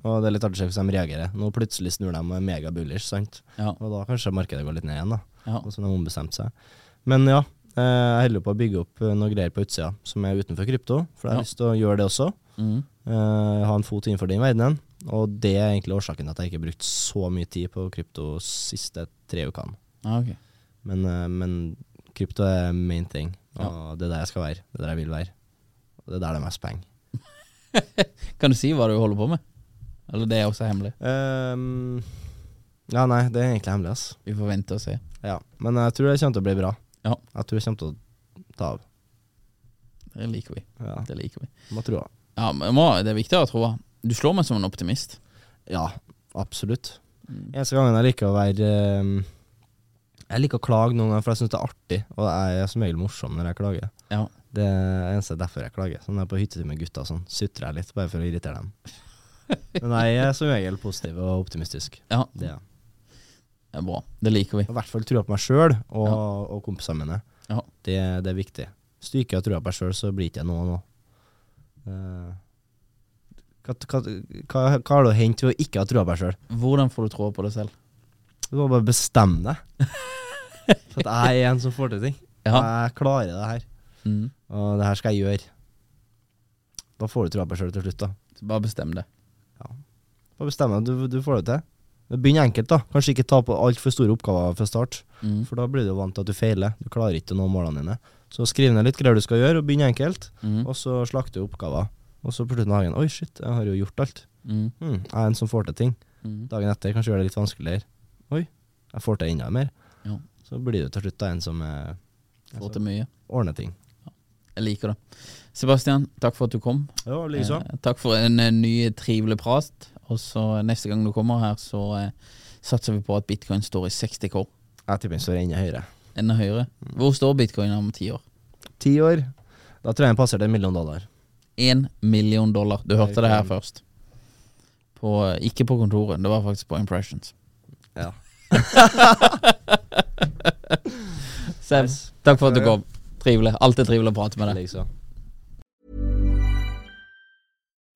og det er litt artig å se hvordan de reagerer. Nå plutselig snur de og er mega bullish, sant. Ja. Og da kanskje markedet går litt ned igjen, da. ja. Og så har de ombestemt seg. Men ja, eh, jeg holder på å bygge opp eh, noe greier på utsida som er utenfor krypto. For jeg har Ja. lyst til å gjøre det også. Mm. Eh, ha en fot innenfor den verdenen. Og det er egentlig årsaken til at jeg ikke har brukt så mye tid på krypto siste tre ukene. Ja, ok. Men, eh, men krypto er main thing, og det er der jeg skal være. Det er der jeg vil være. Og det er der det er mest penger. Kan du si hva du holder på med? Eller det er også hemmelig? Ehm, ja, nei, det er egentlig hemmelig, ass. Vi får vente og se. Ja. Men jeg tror det kommer til å bli bra. Ja. Jeg tror det kommer til å ta av. Det liker vi. Ja, Det liker vi. må tro. Ja, men må, det er viktig å ha troa. Du slår meg som en optimist. Ja, absolutt. Mm. Eneste gangen jeg liker å være eh, Jeg liker å klage noen ganger, for jeg syns det er artig. Og jeg er som regel morsom når jeg klager. Ja. Det er eneste derfor jeg klager. Sånn når jeg er på hyttetur med gutta, og sånn, sutrer jeg litt bare for å irritere dem. Men jeg er som regel positiv og optimistisk. Ja, Det er jeg. det er bra. Det liker vi. Og I hvert fall trua på meg sjøl og, og kompisene mine. Ja. Det, det er viktig. Hvis du ikke har trua på deg sjøl, så blir ikke jeg noe nå. Eh, Hva, hva, hva, hva har det å hente ved å ikke ha trua på deg sjøl? Hvordan får du troa på deg selv? Du må bare bestemme deg. For at jeg er en som får til ting. Jeg klarer det her, Mm. og det her skal jeg gjøre. Da får du troa på deg sjøl til slutt. da Så bare bestem det. Bare bestemme deg, du, du får det til. Men Begynn enkelt, da. Kanskje ikke ta på altfor store oppgaver fra start. Mm. For da blir du jo vant til at du feiler. Du klarer ikke å nå målene dine. Så skriv ned litt greier du skal gjøre, og begynn enkelt. Mm. Og så slakter du oppgaver. Og så på slutten av dagen Oi, shit, jeg har jo gjort alt. Mm. Hmm, jeg er en som får til ting. Mm. Dagen etter kanskje gjør det litt vanskeligere. Oi, jeg får til enda mer. Ja. Så blir du til slutt da en som eh, Får til mye. ordner ting. Jeg liker det. Sebastian, takk for at du kom. Ja, Eh, takk for en eh, ny trivelig prat. Og så eh, neste gang du kommer her, så eh, satser vi på at bitcoin står i 60K. Jeg tipper den står enda høyere. Enda høyere. Hvor står bitcoin om ti år? Ti år. Da tror jeg den passerte en million dollar. Én million dollar. Du hørte det her først. På, eh, ikke på kontoret, det var faktisk på Impressions. Ja. Seb, takk for at du kom. Trivelig. Alltid trivelig å prate med deg. Liksom.